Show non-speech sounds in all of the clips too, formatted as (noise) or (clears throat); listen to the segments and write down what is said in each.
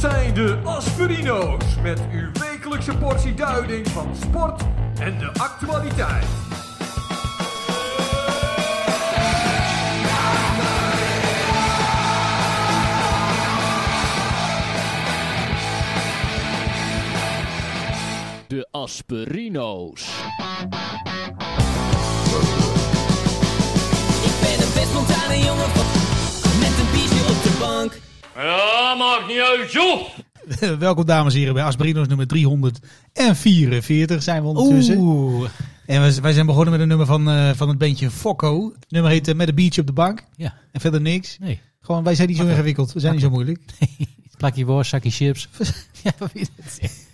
zijn de Aspirino's met uw wekelijkse portie duiding van sport en de actualiteit. De Asperino's. Ik ben een best spontane jongen van met een biertje op de bank. Ja, maakt niet uit, joh! (laughs) Welkom dames en heren bij Asperino's nummer 344 zijn we ondertussen. Oeh. En we- wij zijn begonnen met een nummer van, eh, van het bandje Fokko. Het nummer heet eh, Met een biertje op de bank. Ja, En verder niks. nee. Gewoon, wij zijn niet zo ingewikkeld. We zijn niet zo moeilijk. Plakje worst, zakje chips. (laughs) ja, wat is het?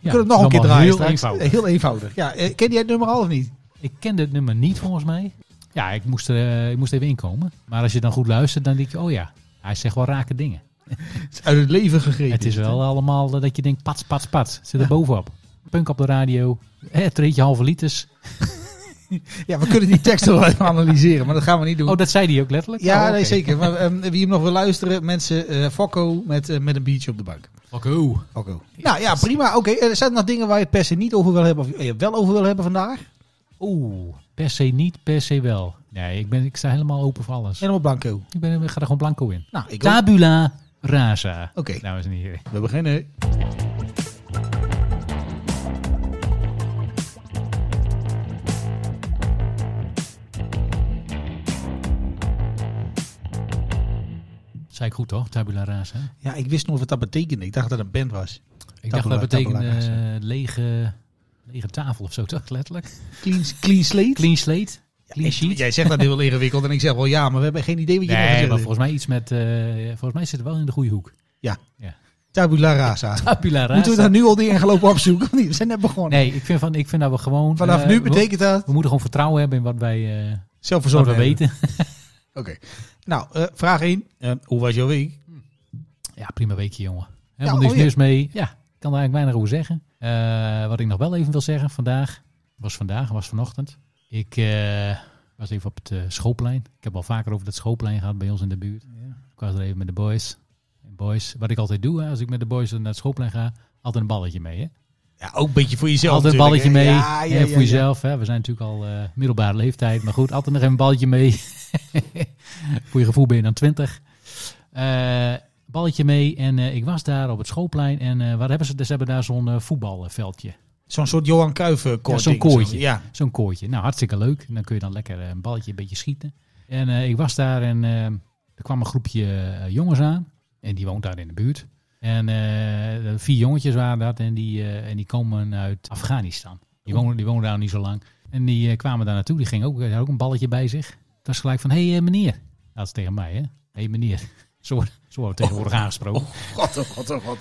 We kunnen het nog een keer draaien Heel straks. eenvoudig. Eh, Heel eenvoudig. Ja, eh, ken jij het nummer al of niet? Ik kende het nummer niet volgens mij. Ja, ik moest, er, eh, ik moest even inkomen. Maar als je dan goed luistert, dan denk je, oh ja, hij zegt wel rake dingen. Het is uit het leven gegrepen. Het is wel allemaal eh, dat je denkt, pats, pats, pats. Het Zit er bovenop. Punk op de radio. Eh, Het treetje halve liters. Ja, we kunnen die tekst wel even analyseren, maar dat gaan we niet doen. Oh, dat zei hij ook letterlijk? ja, Oh, oké. nee, zeker. Maar ehm, wie hem nog wil luisteren, mensen, eh Fokko met, eh, met een biertje op de bank. Fuck you. Fokko. Nou ja, prima. Oké, eh, zijn er nog dingen waar je het per se niet over wil hebben of je wel over wil hebben vandaag? Oeh, per se niet, per se wel. Nee, ik, ben, ik sta helemaal open voor alles. Helemaal blanco. Ik, ben, ik ga er gewoon blanco in. Nou, ik ook. Tabula rasa. Nou, Oké. Dames en heren. We beginnen. Zei ik goed toch? Tabula rasa. Ja, ik wist nog wat dat betekende. Ik dacht dat het een band was. Ik dacht Tabula- dat betekende tabula rasa. eh, lege, lege tafel of zo toch? Letterlijk. Clean, clean slate? Clean slate. Clean Ik- sheet. Jij zegt dat (laughs) heel ingewikkeld en ik zeg wel ja, maar we hebben geen idee wat je Nee, nog maar gezegd hebt. volgens mij iets met... eh, volgens mij zit het wel in de goede hoek. (laughs) Tabula rasa. Tabula rasa. Moeten we daar nu al dingen gaan lopen opzoeken? (laughs) Want We zijn net begonnen. Nee, ik vind, van, ik vind dat we gewoon... Vanaf eh, nu we- betekent dat We moeten gewoon vertrouwen hebben in wat wij, eh, wat zelfverzorgd we hebben. weten. Oké. Nou, eh, vraag 1. hoe was jouw week? Ja, prima weekje, jongen. Helemaal Ja, niks oh ja. nieuws mee. Ja, ik kan daar eigenlijk weinig over zeggen. Eh, wat ik nog wel even wil zeggen, vandaag was vandaag, was vanochtend. Ik eh, was even op het eh, schoolplein. Ik heb al vaker over dat schoolplein gehad bij ons in de buurt. Ik was er even met de boys. En boys. Wat ik altijd doe, hè, als ik met de boys naar het schoolplein ga, altijd een balletje mee. Hè? Ja, ook een beetje voor jezelf. altijd een natuurlijk, balletje mee. hè. Ja, ja, hè, ja, voor ja. jezelf. Hè? We zijn natuurlijk al eh, middelbare leeftijd. Maar goed, altijd nog even een balletje mee. (laughs) voor je gevoel ben je dan 20. Eh, balletje mee. En eh, ik was daar op het schoolplein. En eh, waar hebben ze? Ze hebben daar zo'n eh, voetbalveldje. Zo'n soort Johan Cruijff koortje. Ja, zo'n koortje. Ja. Zo'n koortje. Nou, hartstikke leuk. En dan kun je dan lekker eh, een balletje een beetje schieten. En eh, ik was daar en eh, er kwam een groepje eh, jongens aan. En die woont daar in de buurt. En eh, vier jongetjes waren dat. En die, eh, en die komen uit Afghanistan. Die wonen, die wonen daar nog niet zo lang. En die eh, kwamen daar naartoe. Die gingen ook, die hadden ook een balletje bij zich. Het was gelijk van, hé hey, eh, meneer. Dat is tegen mij, hè. Hé hey, meneer. (laughs) Zo, worden- zo wordt tegenwoordig aangesproken. God, oh god, oh god.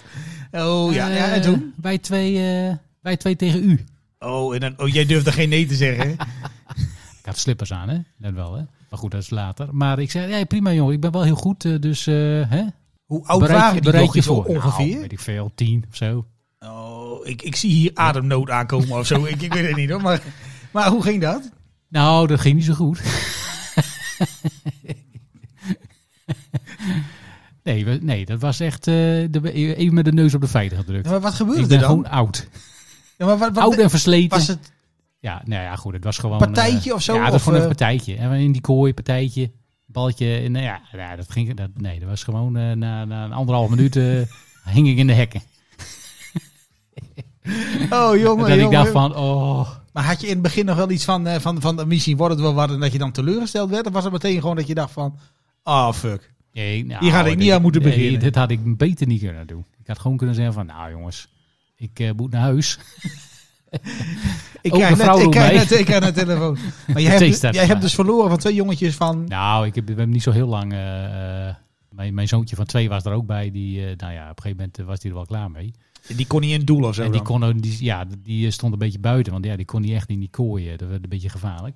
Oh ja, ja, en Eh, toen? wij, twee, eh, wij twee tegen u. Oh, en dan, oh, jij durfde geen nee te (laughs) zeggen. hè? Ik had slippers aan, hè? Net wel, hè? Maar goed, dat is later. Maar ik zei, ja, prima jongen, ik ben wel heel goed, eh, dus eh, hè? Hoe oud Bereid je- waren Oh, die bereid jochies je voor. ongeveer? Nou, weet ik veel, tien of zo. Oh, ik, ik zie hier ademnood aankomen of (laughs) zo. Ik, ik weet het niet hoor. Maar, maar hoe ging dat? Nou, dat ging niet zo goed. (laughs) nee, we- nee, dat was echt eh, de, even met de neus op de feiten gedrukt. Ja, maar wat gebeurde ik er ben dan? gewoon oud. Ja, maar wat, wat- oud en versleten. was het Ja, nou ja, goed, het was gewoon... Partijtje eh, of zo, Ja, dat of, was gewoon eh, een partijtje. En in die kooi, partijtje, baltje. En, nou ja, nou, dat ging... Dat, nee, dat was gewoon eh, na, na een anderhalf (laughs) minuut eh, hing ik in de hekken. (laughs) Oh jongen, dat ik jongen. dacht van, oh... Maar had je in het begin nog wel iets van, eh, van, van misschien wordt het wel wat en dat je dan teleurgesteld werd? Of was het meteen gewoon dat je dacht van, ah fuck. Nee, nou, Hier had ik niet dit- aan moeten nee, beginnen. Dit had ik beter niet kunnen doen. Ik had gewoon kunnen zeggen van, nou jongens, ik eh, moet naar (laughs) huis. Ik Ook krijg, net, mevrouw ik, doet krijg mij. net, ik krijg net (laughs) telefoon. Maar jij, Meteen hebt, staat jij hebt het maar. dus verloren van twee jongetjes van... Nou, ik heb, we hebben niet zo heel lang. eh, eh, mijn, mijn zoontje van twee was er ook bij. Die, eh, nou ja, op een gegeven moment eh, was hij er wel klaar mee. Die kon niet in het doel of zo en die, dan. kon, ook- die, ja, die eh, stond een beetje buiten, want ja, die kon niet echt in die kooien. Dat werd een beetje gevaarlijk.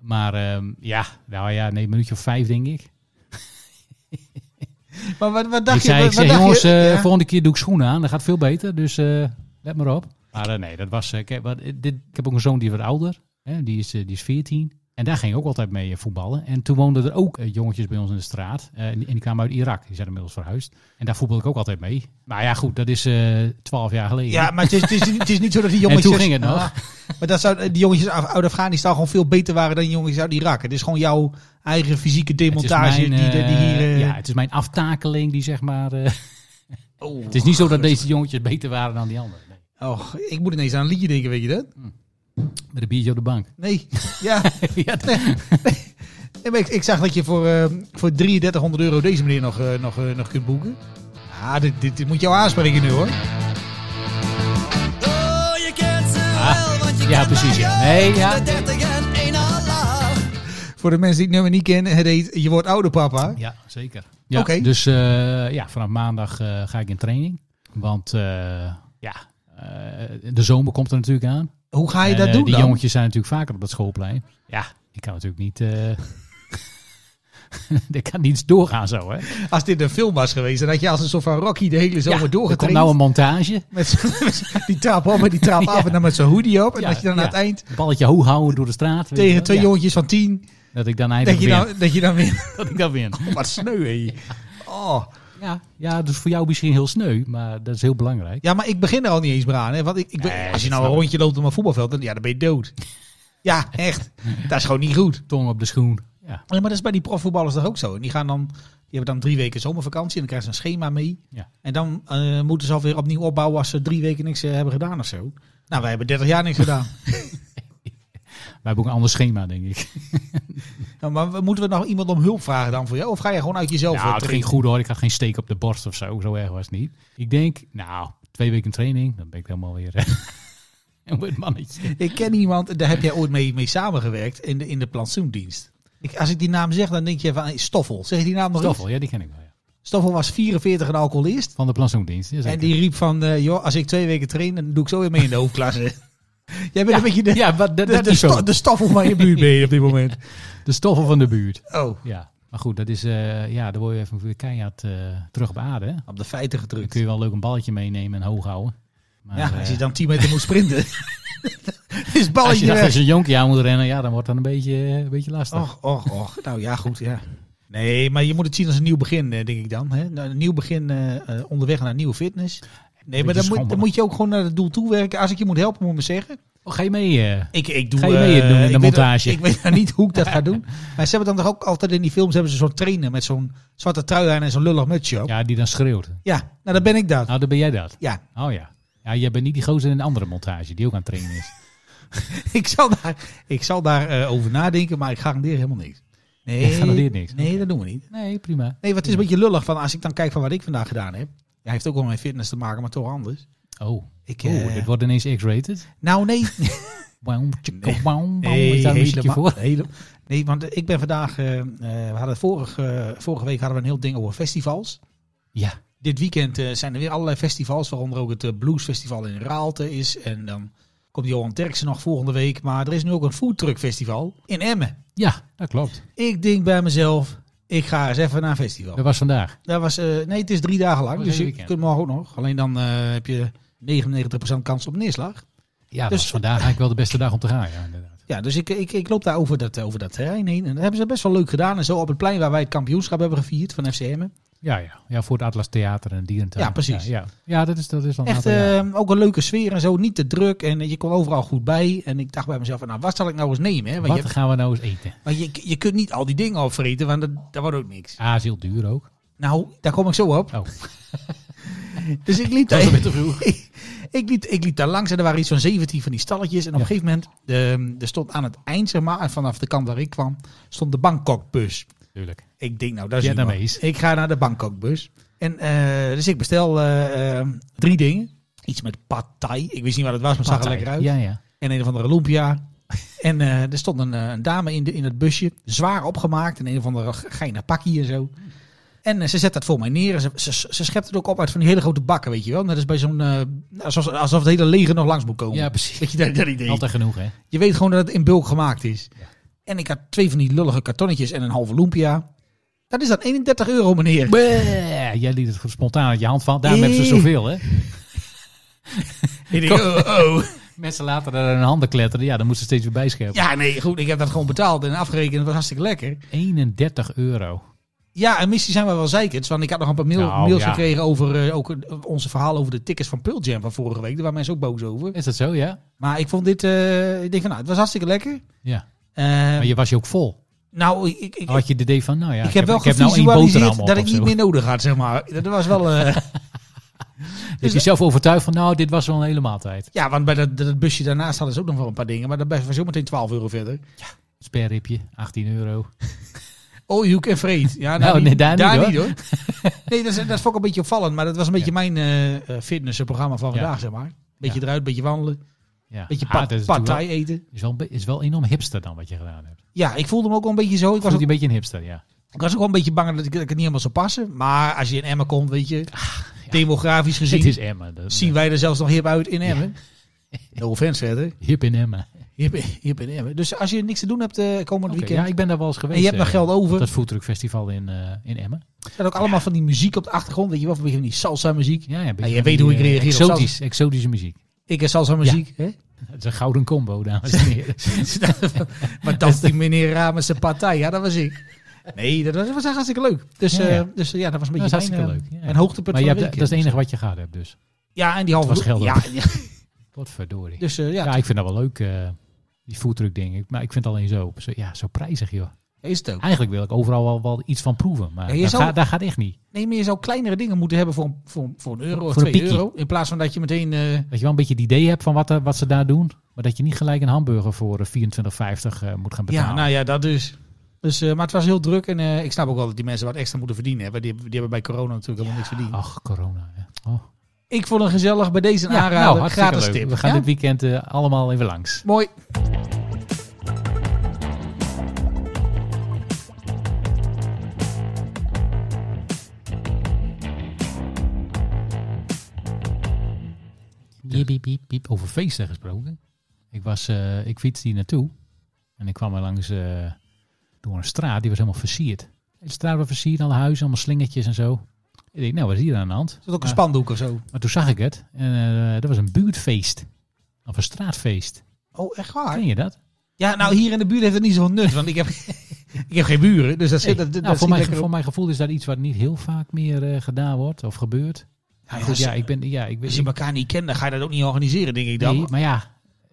Maar ehm, ja, nou ja, nee, een minuutje of vijf denk ik. Maar wat, wat dacht ik zei, je? ik Wat, zei wat dacht jongens, je? eh, Ja. volgende keer doe ik schoenen aan. Dat gaat veel beter, dus eh, let maar op. Maar eh, nee, dat was... eh, kijk, wat, dit, ik heb ook een zoon die is wat ouder. Hè, die, is, eh, die is 14. En daar ging ik ook altijd mee eh, voetballen. En toen woonden er ook eh, jongetjes bij ons in de straat. Eh, en, die, en die kwamen uit Irak. Die zijn inmiddels verhuisd. En daar voetbalde ik ook altijd mee. Maar ja, goed, dat is eh, twaalf jaar geleden. Ja, maar het is, het, is, niet- het is niet zo dat (laughs) die jongetjes... toen ging het nog. Ah, maar dat zou, die jongetjes uit uit Afghanistan gewoon veel beter waren dan die jongetjes uit Irak. Het is gewoon jouw eigen fysieke Het is demontage mijn, die, de- die eh, hier... eh, Ja, het is mijn aftakeling die zeg (laughs) maar... eh, het is niet zo dat deze jongetjes beter waren dan die anderen. Nee. Oh, ik moet ineens aan een liedje denken, weet je dat? Met een biertje op de bank. (laughs) Nee, (laughs) ja. ja, (laughs) Nee, maar ik, ik zag dat je voor, eh, voor 3300 euro deze meneer nog, eh, nog, eh, nog kunt boeken. Ah, dit, dit, dit moet jou aanspreken nu hoor. Oh, je kent ze wel, want je Ah, ja, kent mij precies, ja. ook. Nee, ja. De 30 en één Allah. Voor de mensen die het nummer niet kennen, het heet Je wordt ouder papa. Ja, zeker. Ja, Oké. Dus eh, ja, vanaf maandag eh, ga ik in training. Want eh, ja, eh, de zomer komt er natuurlijk aan. Hoe ga je En, dat eh, doen Die dan? jongetjes zijn natuurlijk vaker op dat schoolplein. Ja, ik kan natuurlijk niet... eh (laughs) ik kan niet doorgaan zo, hè. Als dit een film was geweest, dan had je als een soort van Rocky de hele zomer Ja, er komt doorgetraind. nou een montage. Met z'n- (laughs) met z'n- die trap op en die (laughs) trap af en dan met zijn hoodie op. En Ja, dat je dan ja. aan het eind Balletje hoog houden door de straat. weet je wel. tegen twee Ja. jongetjes van tien, Dat ik dan dat je nou eigenlijk win. dan, dat je dan weer... (laughs) Dat ik dan win. Wat sneu hé. Oh. Ja, ja, dus voor jou misschien heel sneu, maar dat is heel belangrijk. Ja, maar ik begin er al niet eens meer aan. Hè? Want ik, ik ben- Nee, als je dat nou een snap ik. rondje loopt om een voetbalveld, dan, ja, dan ben je dood. (laughs) ja, echt. Dat is gewoon niet goed. Tong op de schoen. Ja, Ja, maar dat is bij die profvoetballers toch ook zo. Die, gaan dan, die hebben dan drie weken zomervakantie en dan krijgen ze een schema mee. Ja. En dan eh, moeten ze alweer opnieuw opbouwen als ze drie weken niks eh, hebben gedaan of zo. Nou, wij hebben 30 jaar niks (laughs) gedaan. wij hebben ook een ander schema, denk ik. Nou, maar we- moeten we nog iemand om hulp vragen dan voor jou? Of ga je gewoon uit jezelf? Nou, eh, het ging trainen? goed hoor. Ik had geen steek op de borst of zo. Zo erg was het niet. Ik denk, nou, twee weken training. Dan ben ik helemaal weer eh, (laughs) een wit mannetje. Ik ken iemand, daar heb jij ooit mee, mee samengewerkt in de, in de plantsoendienst. Ik, als ik die naam zeg, dan denk je van hey, Stoffel. Zeg je die naam nog eens? Stoffel, ja, die ken ik wel. Ja. Stoffel was 44 en alcoholist. Van de plantsoendienst. Ja, En zeker. die riep van, eh, joh, als ik twee weken train, dan doe ik zo weer mee in de (laughs) hoofdklasse. Jij bent een beetje de, (laughs) ja, maar dat, de, dat de, is zo. sta, de staffel van je (laughs) buurt ben je op dit moment. De stoffel van de buurt. Oh, Ja, maar goed, dat is, eh, ja, daar word je even weer keihard eh, terug op aarde. hè. op de feiten Dan gedrukt. kun je wel leuk een balletje meenemen en hoog houden. Maar, ja, als je eh, dan 10 meter moet sprinten, (laughs) is als je balletje dacht, weg. als je een jonkie aan moet rennen, ja, dan wordt dat een beetje, eh, een beetje lastig. Och, och, och. Nou ja, goed, ja. Nee, maar je moet het zien als een nieuw begin, eh, denk ik dan. Hè? Nou, een nieuw begin eh, eh, onderweg naar nieuwe fitness. Nee, maar dan moet, schommelen. dan moet je ook gewoon naar het doel toe werken. Als ik je moet helpen, moet je me zeggen. Oh, ga je mee? eh? Ik, ik doe, Ga je mee eh, doen in de ik weet- montage? ik weet nou niet hoe ik dat ga doen. (laughs) Maar ze hebben dan toch ook altijd in die films hebben ze zo'n trainer met zo'n zwarte trui aan en zo'n lullig mutsje op. Ja, ja, die dan schreeuwt. nou dan ben ik dat. Nou, dan ben jij dat. Ja, (laughs) Oh ja. Ja, jij bent niet die gozer in een andere montage die ook aan het trainen is. ik zal daar, ik zal daar eh, over nadenken, maar ik garandeer helemaal niks. Nee, Je garandeert niks. Nee, dat doen we niet. Nee, prima. (laughs) Nee, wat is een beetje lullig van als ik dan kijk van wat ik vandaag gedaan heb. Ja, heeft ook wel met fitness te maken, maar toch anders. Oh, Ik, Oeh, eh, dit wordt ineens X-rated. Nou, (laughs) nee. Wauw, tjekka, wauw, wauw. Nee, Is daar een muziekje helemaal- voor? hele- nee, want eh, ik ben vandaag. eh, eh, we hadden vorige, eh, vorige week hadden we een heel ding over festivals. Ja. Dit weekend eh, zijn er weer allerlei festivals, waaronder ook het eh, Bluesfestival in Raalte is. En dan komt Johan Terksen nog volgende week. Maar er is nu ook een foodtruck festival in Emmen. ja, dat klopt. Ik denk bij mezelf, ik ga eens even naar een festival. Dat was vandaag. Dat was, eh, nee, het is drie dagen lang, Dat was dus een je weekend. kunt morgen ook nog. Alleen dan eh, heb je 99% kans op neerslag. Ja, dat Dus- was vandaag eigenlijk wel de beste dag om te gaan. Ja, inderdaad. Ja, dus ik, ik, ik loop daar over dat, eh, over dat terrein heen. En dat hebben ze best wel leuk gedaan. En zo op het plein waar wij het kampioenschap hebben gevierd van FC Emmen. Ja, ja. ja, voor het Atlas Theater en Dierentuin. Ja, precies. Ja, ja. Ja, dat is, dat is dan Echt eh, ook een leuke sfeer en zo, niet te druk. En eh, je kon overal goed bij. En ik dacht bij mezelf, van, nou wat zal ik nou eens nemen? Hè? Want, Wat je, gaan we nou eens eten? want je, je kunt niet al die dingen opvreten, want dat, dat wordt ook niks. Ah, is heel duur ook. Nou, daar kom ik zo op. Oh, Dus ik liep dat is daar, een beetje (laughs) vroeg. ik liep, ik liep daar langs en er waren iets van 17 van die stalletjes. En op Ja. een gegeven moment, ehm, er stond aan het eind, zeg maar, en vanaf de kant waar ik kwam, stond de Bangkokbus. Tuurlijk. Ik denk, nou, daar is Vietnamees. iemand. Ik ga naar de Bangkokbus. En eh, dus ik bestel eh, eh, drie dingen. Iets met pad thai. Ik wist niet wat het was, maar het zag er lekker uit. Ja, ja. En een of andere lumpia. En eh, er stond een, eh, een dame in, de, in het busje, zwaar opgemaakt. En een of andere ge- geinig pakje en zo. En eh, ze zet dat voor mij neer. En ze, ze, ze schept het ook op uit van die hele grote bakken, weet je wel. Dat is bij zo'n... eh, alsof, alsof het hele leger nog langs moet komen. Ja, precies. Weet je, dat, dat idee. Altijd genoeg, hè? Je weet gewoon dat het in bulk gemaakt is. En ik had twee van die lullige kartonnetjes en een halve lumpia. Dat is dan 31 euro, meneer. Bleh, jij liet het gewoon spontaan uit je hand vallen. Daarom hebben ze Eeh. zoveel, hè? Ik denk, oh, oh. Mensen laten er hun handen kletteren. Ja, dan moeten ze steeds weer bijscherpen. Ja, nee, goed. Ik heb dat gewoon betaald en afgerekend. Het was hartstikke lekker. 31 euro. Ja, en missie zijn we wel zeker. Want ik had nog een paar mail- Nou, mails ja. gekregen over eh, ook eh, onze verhaal over de tickets van Pearl Jam van vorige week. Daar waren mensen ook boos over. Is dat zo, ja? Maar ik vond dit, eh, ik denk van nou, het was hartstikke lekker. Ja. Eh, Maar je was je ook vol. Nou, ik, ik, ik, Had je het idee van, nou ja, ik heb wel ik heb nou één gevisualiseerd boterham op dat ik of niet zo. meer nodig had, zeg maar. Dat was wel... eh, (laughs) Dus jezelf overtuigd van, nou, dit was wel een hele maaltijd. ja, want bij dat, dat busje daarnaast hadden ze ook nog wel een paar dingen. Maar dat was zo meteen 12 euro verder. Sperripje, 18 euro. Oh, you can freight. Ja, Nou, nee, daar niet, (laughs) nee, dat, is- dat vond ik een beetje opvallend. Maar dat was een beetje mijn eh eh, fitnessprogramma van Ja. vandaag, zeg maar. Beetje Ja. eruit, beetje wandelen. Ja. Beetje Ah, pad, dat is pad natuurlijk thai eten. wel- Is wel, een be- is wel enorm hipster dan wat je gedaan hebt. Ja, ik voelde me ook wel een beetje zo. Ik Was was, ook, een beetje een hipster, ja. ik was ook wel een beetje bang dat ik, dat ik het niet helemaal zou passen. Maar als je in Emmen komt, weet je, demografisch Ah, Het gezien, is Emmen. dat- zien wij er zelfs nog hip uit in (laughs) Emmen. No offense verder. Hip in Emmen. Hip, hip in Emmen. Dus als je niks te doen hebt eh komend Oké, weekend, ja, ik ben daar wel eens geweest. en je hebt nog eh, geld over. op Dat voetdrukfestival in, eh, in Emmen. Er staat ook allemaal van die muziek op de achtergrond. Weet je wel, van die salsa muziek. Ja, ja, een beetje Nou, je van weet die, hoe ik eh, reageer op Exotisch, exotische muziek. Ik en salsa muziek. Hè? Het is een gouden combo, dames (laughs) en heren. (laughs) Maar (laughs) dat die meneer Raam met zijn partij, ja, dat was ik. Nee, dat was, dat was hartstikke leuk. Dus Ja, ja, ja. dus, ja dat was een Dat is beetje mijn, hartstikke leuk. eh, Ja, ja. mijn hoogtepunt maar je van hebt, de dat week. is het enige wat je gehad hebt dus. Ja, en die halve... Het was ja, Gelderland. ja, Wat verdorie. dus eh, ja, ja, ik vind dat wel leuk, eh, die foodtruck ding. Ik- Maar ik vind het alleen zo, zo, ja, zo prijzig, joh. is het ook. Eigenlijk wil ik overal wel, wel iets van proeven, maar Ja, je dat, zou- gaat, dat gaat echt niet. Nee, maar je zou kleinere dingen moeten hebben voor een, voor, een- voor een euro of Voor een twee pikkie. euro. In plaats van dat je meteen... eh, Dat je wel een beetje het idee hebt van wat, er- wat ze daar doen, maar dat je niet gelijk een hamburger voor eh, 24,50 eh, moet gaan betalen. ja, nou ja, dat dus. dus eh, maar het was heel druk en eh, ik snap ook wel dat die mensen wat extra moeten verdienen. Hè, want die, die hebben bij corona natuurlijk helemaal niks verdiend. Ach, corona. Hè. Oh. Ik vond het gezellig bij deze Ja, aanrader. hartstikke gratis leuk. tip. eh, We gaan nou, Ja? dit weekend eh, allemaal even langs. Mooi. Biep, biep, biep, biep. Over feesten gesproken. Ik, was, eh ik fietste hier naartoe. En ik kwam er langs eh, door een straat. Die was helemaal versierd. De straat was versierd. Alle huizen, allemaal slingertjes en zo. Ik denk, nou, wat is hier aan de hand? Is dat ook een Ja. spandoek of zo? Maar toen zag ik het. En eh, dat was een buurtfeest. Of een straatfeest. Oh, echt waar? Ken je dat? Ja, nou hier in de buurt heeft het niet zoveel nut, want ik heb, (laughs) ik heb geen buren. Dus dat zit. Nee. Dat, dat nou, voor, zit mijn, lekker voor op. mijn gevoel is dat iets wat niet heel vaak meer eh, gedaan wordt. Of gebeurt. Maar ja, goed, als- ja, ik ben... Ja, ik ben Als je elkaar niet kent, dan ga je dat ook niet organiseren, denk ik dan. Nou, nee, maar ja,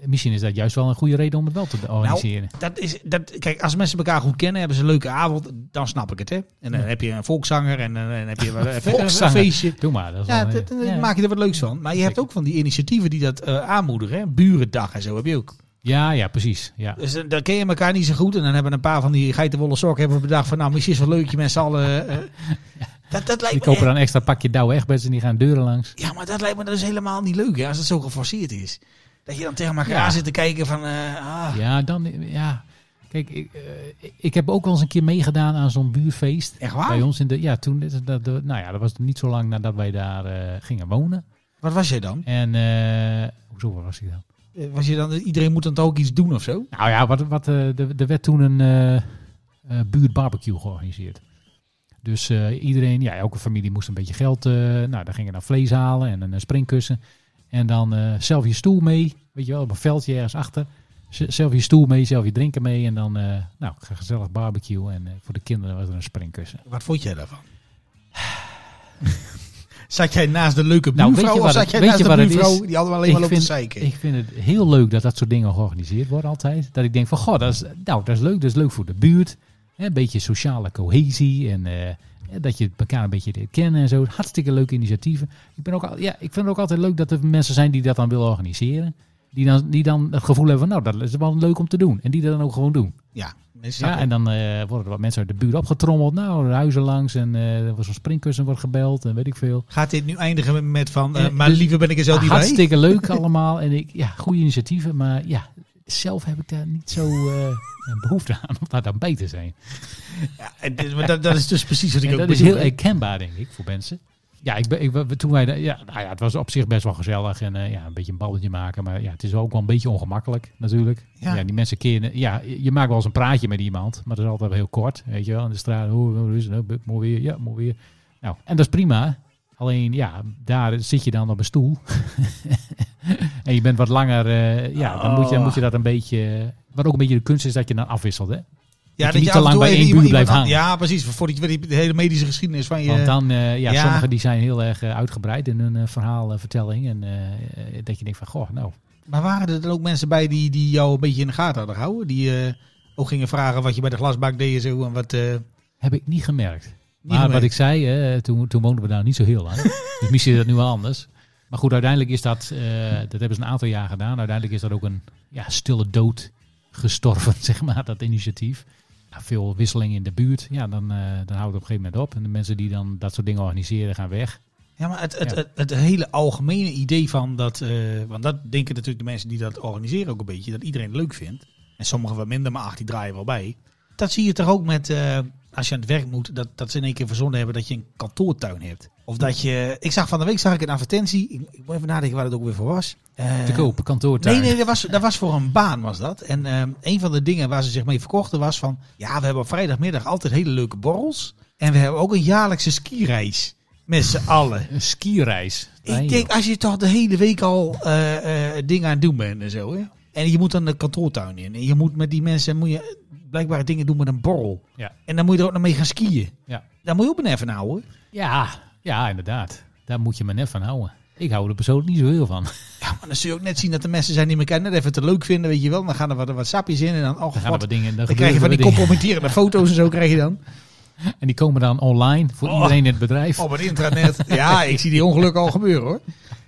misschien is dat juist wel een goede reden om het wel te organiseren. dat is, dat, kijk, als mensen elkaar goed kennen, hebben ze een leuke avond, dan snap ik het. Hè? En dan heb je een volkszanger en dan dan heb je wel even (laughs) een Volkszanger. feestje. Doe maar. Dat is Ja, wel- dat, dan ja. maak je er wat leuks van. Maar je hebt ook van die initiatieven die dat eh, aanmoedigen. Hè? Burendag en zo heb je ook. Ja, ja, precies. Ja. Dus eh, dan ken je elkaar niet zo goed. En dan hebben een paar van die geitenwolle sokken hebben bedacht van... nou, misschien is het wel leuk, je mensen allen... eh, (laughs) eh. dat, dat lijkt Die me kopen dan een extra pakje douwe echtbeds en die gaan deuren langs. Ja, maar dat lijkt me dus helemaal niet leuk hè, als het zo geforceerd is. Dat je dan tegen elkaar Ja. zit te kijken van... eh, ah. Ja, dan, ja. Kijk, ik, eh, ik heb ook wel eens een keer meegedaan aan zo'n buurfeest. Echt waar? Bij ons in de, ja, toen, dat, dat, dat- nou ja, dat was niet zo lang nadat wij daar eh, gingen wonen. Wat was jij dan? En, eh, hoezo waar was ik dan? Eh, Was je dan? Iedereen moet dan toch ook iets doen of zo? Nou ja, wat, wat, eh, er er werd toen een eh, eh, buurtbarbecue georganiseerd. Dus eh, iedereen, ja, elke familie moest een beetje geld. eh, nou, daar gingen dan vlees halen en een eh, springkussen. En dan eh, zelf je stoel mee. Weet je wel, op een veldje ergens achter. Z- zelf je stoel mee, zelf je drinken mee. En dan, eh, nou, ge- gezellig barbecue. En eh, voor de kinderen was er een springkussen. Wat vond jij daarvan? (sighs) zat jij naast de leuke Nou, buurvrouw weet je of wat zat het- jij weet naast je de wat het buurvrouw is? die allemaal alleen maar loopt te vind, zeiken? ik vind het heel leuk dat dat soort dingen georganiseerd worden altijd. Dat ik denk van, goh, dat is, nou, dat is leuk. Dat is leuk voor de buurt. Hè, Een beetje sociale cohesie. En eh, dat je elkaar een beetje leert kennen en zo. Hartstikke leuke initiatieven. Ik, ben ook, al- ja, ik vind het ook altijd leuk dat er mensen zijn die dat dan willen organiseren. Die dan, die dan het gevoel hebben van, nou, dat is wel leuk om te doen. En die dat dan ook gewoon doen. Ja, mensen Ja, en dan eh, worden er wat mensen uit de buurt opgetrommeld. Nou, de huizen langs. En eh, er was een springkussen wordt gebeld en weet ik veel. Gaat dit nu eindigen met van... eh, Eh, maar dus- liever ben ik er zo niet bij? Hartstikke leuk allemaal. En ik, ja, goede initiatieven. Maar ja, zelf heb ik daar niet zo eh, een behoefte aan om daar dan bij te zijn. Ja, en dit- maar dat, dat is dus precies wat ik En ook dat is bedoel, heel hè. herkenbaar, denk ik, voor mensen. Ja, ik ben, ik, ben- toen wij, daar- ja, nou ja, het was op zich best wel gezellig en eh, ja, een beetje een balletje maken. Maar ja, het is ook wel een beetje ongemakkelijk natuurlijk. Ja. Ja, die mensen kennen, ja, je maakt wel eens een praatje met iemand, maar dat is altijd wel heel kort. Weet je wel, in de straat, hoe hoe is het, nou, mooi weer, ja, mooi weer. Nou, en dat is prima. Alleen, ja, daar zit je dan op een stoel. (laughs) en je bent wat langer, eh, ja, dan moet, je, Oh. moet je dat een beetje... Wat ook een beetje de kunst is dat je dan afwisselt, hè? Ja, niet te af en lang toe bij één even buur iemand- blijft iemand- hangen. Ja, precies. Voordat je weet, de hele medische geschiedenis van je... Want dan, eh, ja, ja. sommigen die zijn heel erg eh, uitgebreid in hun eh, verhaalvertelling. En eh, eh, dat je denkt van, goh, nou, Maar waren er dan ook mensen bij die, die jou een beetje in de gaten hadden gehouden? Die eh, ook gingen vragen wat je bij de glasbak deed en zo en wat... eh, heb ik niet gemerkt. maar gemerkt. wat ik zei, eh, toen, toen woonden we daar niet zo (laughs) heel lang. dus misschien is dat nu wel anders. Maar goed, uiteindelijk is dat, eh, dat hebben ze een aantal jaar gedaan. Uiteindelijk is dat ook een ja, stille dood gestorven, (laughs) zeg maar, dat initiatief. Ja, veel wisseling in de buurt. Ja, dan, eh, dan houdt het op een gegeven moment op. En de mensen die dan dat soort dingen organiseren, gaan weg. Ja, maar het, het, Ja. Het, het hele algemene idee van dat... eh, want dat denken natuurlijk de mensen die dat organiseren ook een beetje. Dat iedereen het leuk vindt. En sommigen wat minder, maar ach, die draaien wel bij. Dat zie je toch ook met... eh, als je aan het werk moet, dat, dat ze in één keer verzonnen hebben dat je een kantoortuin hebt. Of dat je... Ik zag van de week zag ik een advertentie. Ik, ik moet even nadenken waar het ook weer voor was. Eh, Te koop, kantoortuin. Nee, nee, dat was, dat was voor een baan was dat. En ehm, een van de dingen waar ze zich mee verkochten was van... Ja, we hebben op vrijdagmiddag altijd hele leuke borrels. En we hebben ook een jaarlijkse skireis. Met z'n allen. (laughs) Een skireis. Nee, Ik denk, als je toch de hele week al eh, eh, dingen aan het doen bent en zo. Hè? En je moet dan de kantoortuin in. En je moet met die mensen moet je blijkbaar dingen doen met een borrel. Ja. En dan moet je er ook nog mee gaan skiën. Ja. Daar moet je ook een even houden. Ja, ja, inderdaad. Daar moet je me net van houden. Ik hou er persoonlijk niet zoveel van. Maar dan zul je ook net zien dat de mensen zijn die elkaar net even te leuk vinden. Weet je wel. Dan gaan er wat, wat sapjes in. En dan, oh, Dan gaan er god, wat dingen. Dan dan krijg je gebeuren van die er wat dingen. compromitterende foto's en zo krijg je (laughs) dan. En die komen dan online voor Oh. iedereen in het bedrijf. Op het intranet. Ja, ik zie die ongelukken al gebeuren hoor.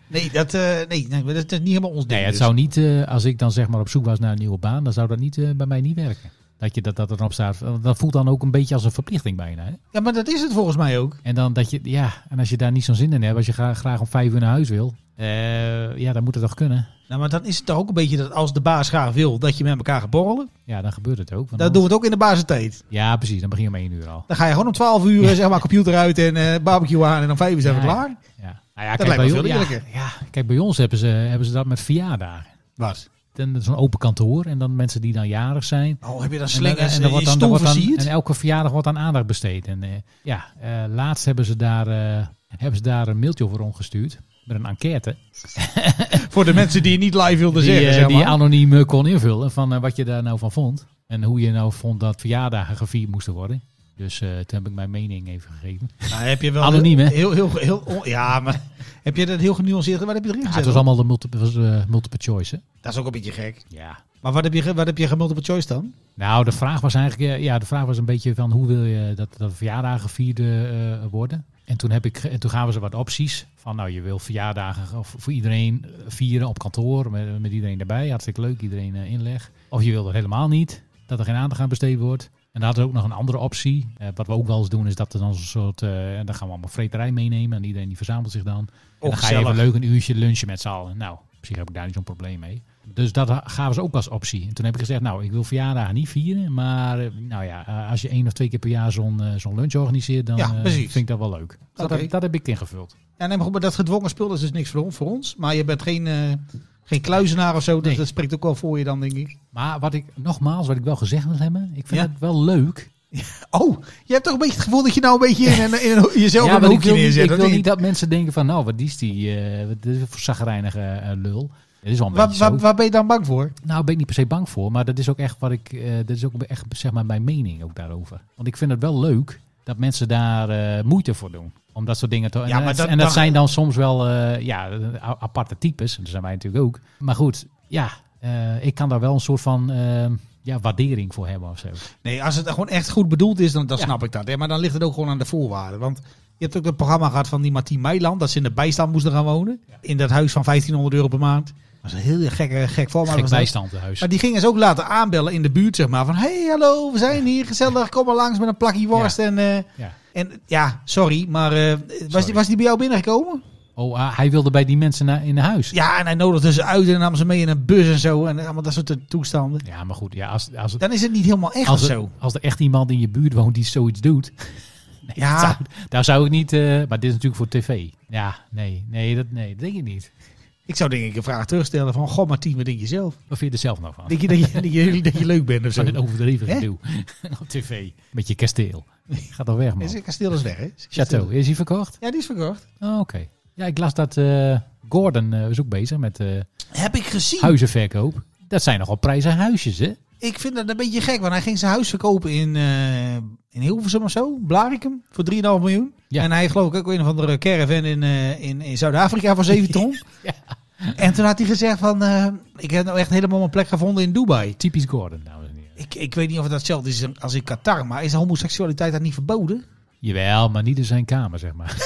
Nee, dat, eh, nee, nee, dat, dat is niet helemaal ons ding. nee, het dus. zou niet, eh, als ik dan zeg maar op zoek was naar een nieuwe baan, dan zou dat niet, eh, bij mij niet werken. Dat je dat, dat er dan op staat. Want Dat voelt dan ook een beetje als een verplichting bijna. Hè? Ja, maar dat is het volgens mij ook. En dan dat je, ja, en als je daar niet zo'n zin in hebt, als je graag, graag om vijf uur naar huis wil, eh, ja, dan moet het toch kunnen. Nou, maar dan is het toch ook een beetje dat als de baas graag wil dat je met elkaar gaat borrelen. Ja, dan gebeurt het ook. want Dat doen we anders- het ook in de basentijd. Ja, precies. Dan begin je om één uur al. Dan ga je gewoon om 12 uur zeg maar computer uit en eh, barbecue aan en om 5 uur zijn we Ja, ja. klaar. Ja. Nou ja, Dat lijkt me kijk, bij veel ons, ja, eerlijker. ja, kijk, bij ons hebben ze, hebben ze dat met verjaardagen. Wat? Dan Zo'n open kantoor en dan mensen die dan jarig zijn. Oh, heb je dan dan- slingers en, dan wordt dan- dan, dan wordt dan- versierd? en elke verjaardag wordt aan aandacht besteed. En eh, ja, eh, laatst hebben ze, daar, eh, hebben ze daar een mailtje over omgestuurd. Met een enquête. Voor de mensen die het niet live wilden Die, zeggen, eh, zeg die je maar. anoniem eh, kon invullen van eh, wat je daar nou van vond. En hoe je nou vond dat verjaardagen gevierd moesten worden. Dus eh, toen heb ik mijn mening even gegeven. Nou, heb je (laughs) wel Anoniem, hè? Heel, heel, heel, on- ja, maar (laughs) heb je dat heel genuanceerd? Wat heb je erin Ja, gezet? het was allemaal de multiple, was, eh, multiple choice. Hè? dat is ook een beetje gek. Ja. Maar wat heb je, ge- wat heb je gemultiple choice dan? Nou, de vraag was eigenlijk, eh, ja, de vraag was een beetje van hoe wil je dat, dat verjaardagen gevierd eh, eh, worden? En toen, heb ik, ge- en toen gaven ze wat opties. Van nou, je wil verjaardagen ge- of voor iedereen eh, vieren op kantoor, met, met iedereen erbij. Hartstikke leuk, iedereen eh, inleg. Of je wil dat helemaal niet, dat er geen aandacht aan besteed wordt. En daar hadden ze ook nog een andere optie. Eh, wat we ook wel eens doen, is dat er dan zo'n soort, eh, en dan gaan we allemaal vreterij meenemen. En iedereen die verzamelt zich dan. En Oh, dan ga je even gezellig. leuk een uurtje lunchen met z'n allen. Nou, op zich heb ik daar niet zo'n probleem mee. Dus dat ha- gaven ze ook als optie. En toen heb ik gezegd, nou, ik wil verjaardagen niet vieren. Maar eh, nou ja, eh, als je één of twee keer per jaar zo'n eh, zo'n lunch organiseert, dan Ja, eh, precies. vind ik dat wel leuk. Dus dat, Oké. heb- dat heb ik ingevuld. Ja, nee, maar goed, maar dat gedwongen spul dat is dus niks voor, voor ons. Maar je bent geen, eh, geen kluizenaar of zo. Dus Nee. dat spreekt ook wel voor je dan, denk ik. Maar wat ik, nogmaals, wat ik wel gezegd wil hebben, ik vind Ja. het wel leuk. Oh, je hebt toch een beetje het gevoel dat je nou een beetje in, een- in een- jezelf in maar een ik hoekje wil, niet, neerzet. ik of wil niet? niet dat mensen denken van, nou, wat is die, eh wat is dit voor zagrijnige eh, lul. Het is wel een Waar, beetje zo. waar, waar ben je dan bang voor? Nou, ben ik niet per se bang voor, maar dat is ook echt wat ik. eh, dat is ook echt zeg maar mijn mening ook daarover. Want ik vind het wel leuk dat mensen daar eh, moeite voor doen. Om dat soort dingen te. Ja, en, maar dat, dat- en dat dat- zijn dan soms wel eh, ja, a- aparte types. En dat zijn wij natuurlijk ook. Maar goed, ja, eh, ik kan daar wel een soort van. eh, ja, waardering voor hebben of zo. Nee, als het gewoon echt goed bedoeld is, dan, dan Ja. snap ik dat. Hè? Maar dan ligt het ook gewoon aan de voorwaarden. Want je hebt ook het programma gehad van die Martien Meiland. Dat ze in de bijstand moesten gaan wonen. In dat huis van 1500 euro per maand. Dat is een heel gekke, gek formaat. Gek was dat. bijstand huis. Maar die gingen ze ook laten aanbellen in de buurt, zeg maar. Van, hey, hallo, we zijn hier, gezellig, kom maar langs met een plakje worst. En, eh, Ja. en ja, sorry, maar eh, was, die, was die bij jou binnengekomen? Oh, ah, hij wilde bij die mensen na- in huis. Ja, en hij nodigde ze uit en nam ze mee in een bus en zo. En allemaal dat soort eh, toestanden. Ja, maar goed, ja, als, als, Dan is het niet helemaal echt als, of er, zo. als er echt iemand in je buurt woont die zoiets doet. Nee, Ja. dat zou, daar zou ik niet. eh, maar dit is natuurlijk voor tv. Ja, nee, nee, dat, nee, dat denk ik niet. Ik zou denk ik een vraag terugstellen van, goh Martien, wat denk je zelf? Wat vind je er zelf nou van? Denk je dat je, dat je, dat je leuk bent of zo? Van het overdreven Hè? gedoe (laughs) op tv. Met je kasteel. (laughs) Gaat al weg, Is man. het kasteel is weg, hè? Is het kasteel- Chateau, is hij verkocht? Ja, die is verkocht. Oh, oké. Ja, ik las dat eh, Gordon eh is ook bezig met eh, Heb ik gezien. huizenverkoop. Dat zijn nogal prijzen aan huisjes, hè? Ik vind dat een beetje gek, want hij ging zijn huis verkopen in, eh, in Hilversum of zo, Blarikum, voor 3,5 miljoen. Ja. En hij heeft geloof ik ook een of andere caravan in, eh, in, in Zuid-Afrika voor 7 ton. En toen had hij gezegd van, eh, ik heb nou echt helemaal mijn plek gevonden in Dubai. Typisch Gordon, dames en heren. Ik, ik weet niet of het hetzelfde is als in Qatar, maar is homoseksualiteit daar niet verboden? Jawel, maar niet in zijn kamer, zeg maar. (laughs)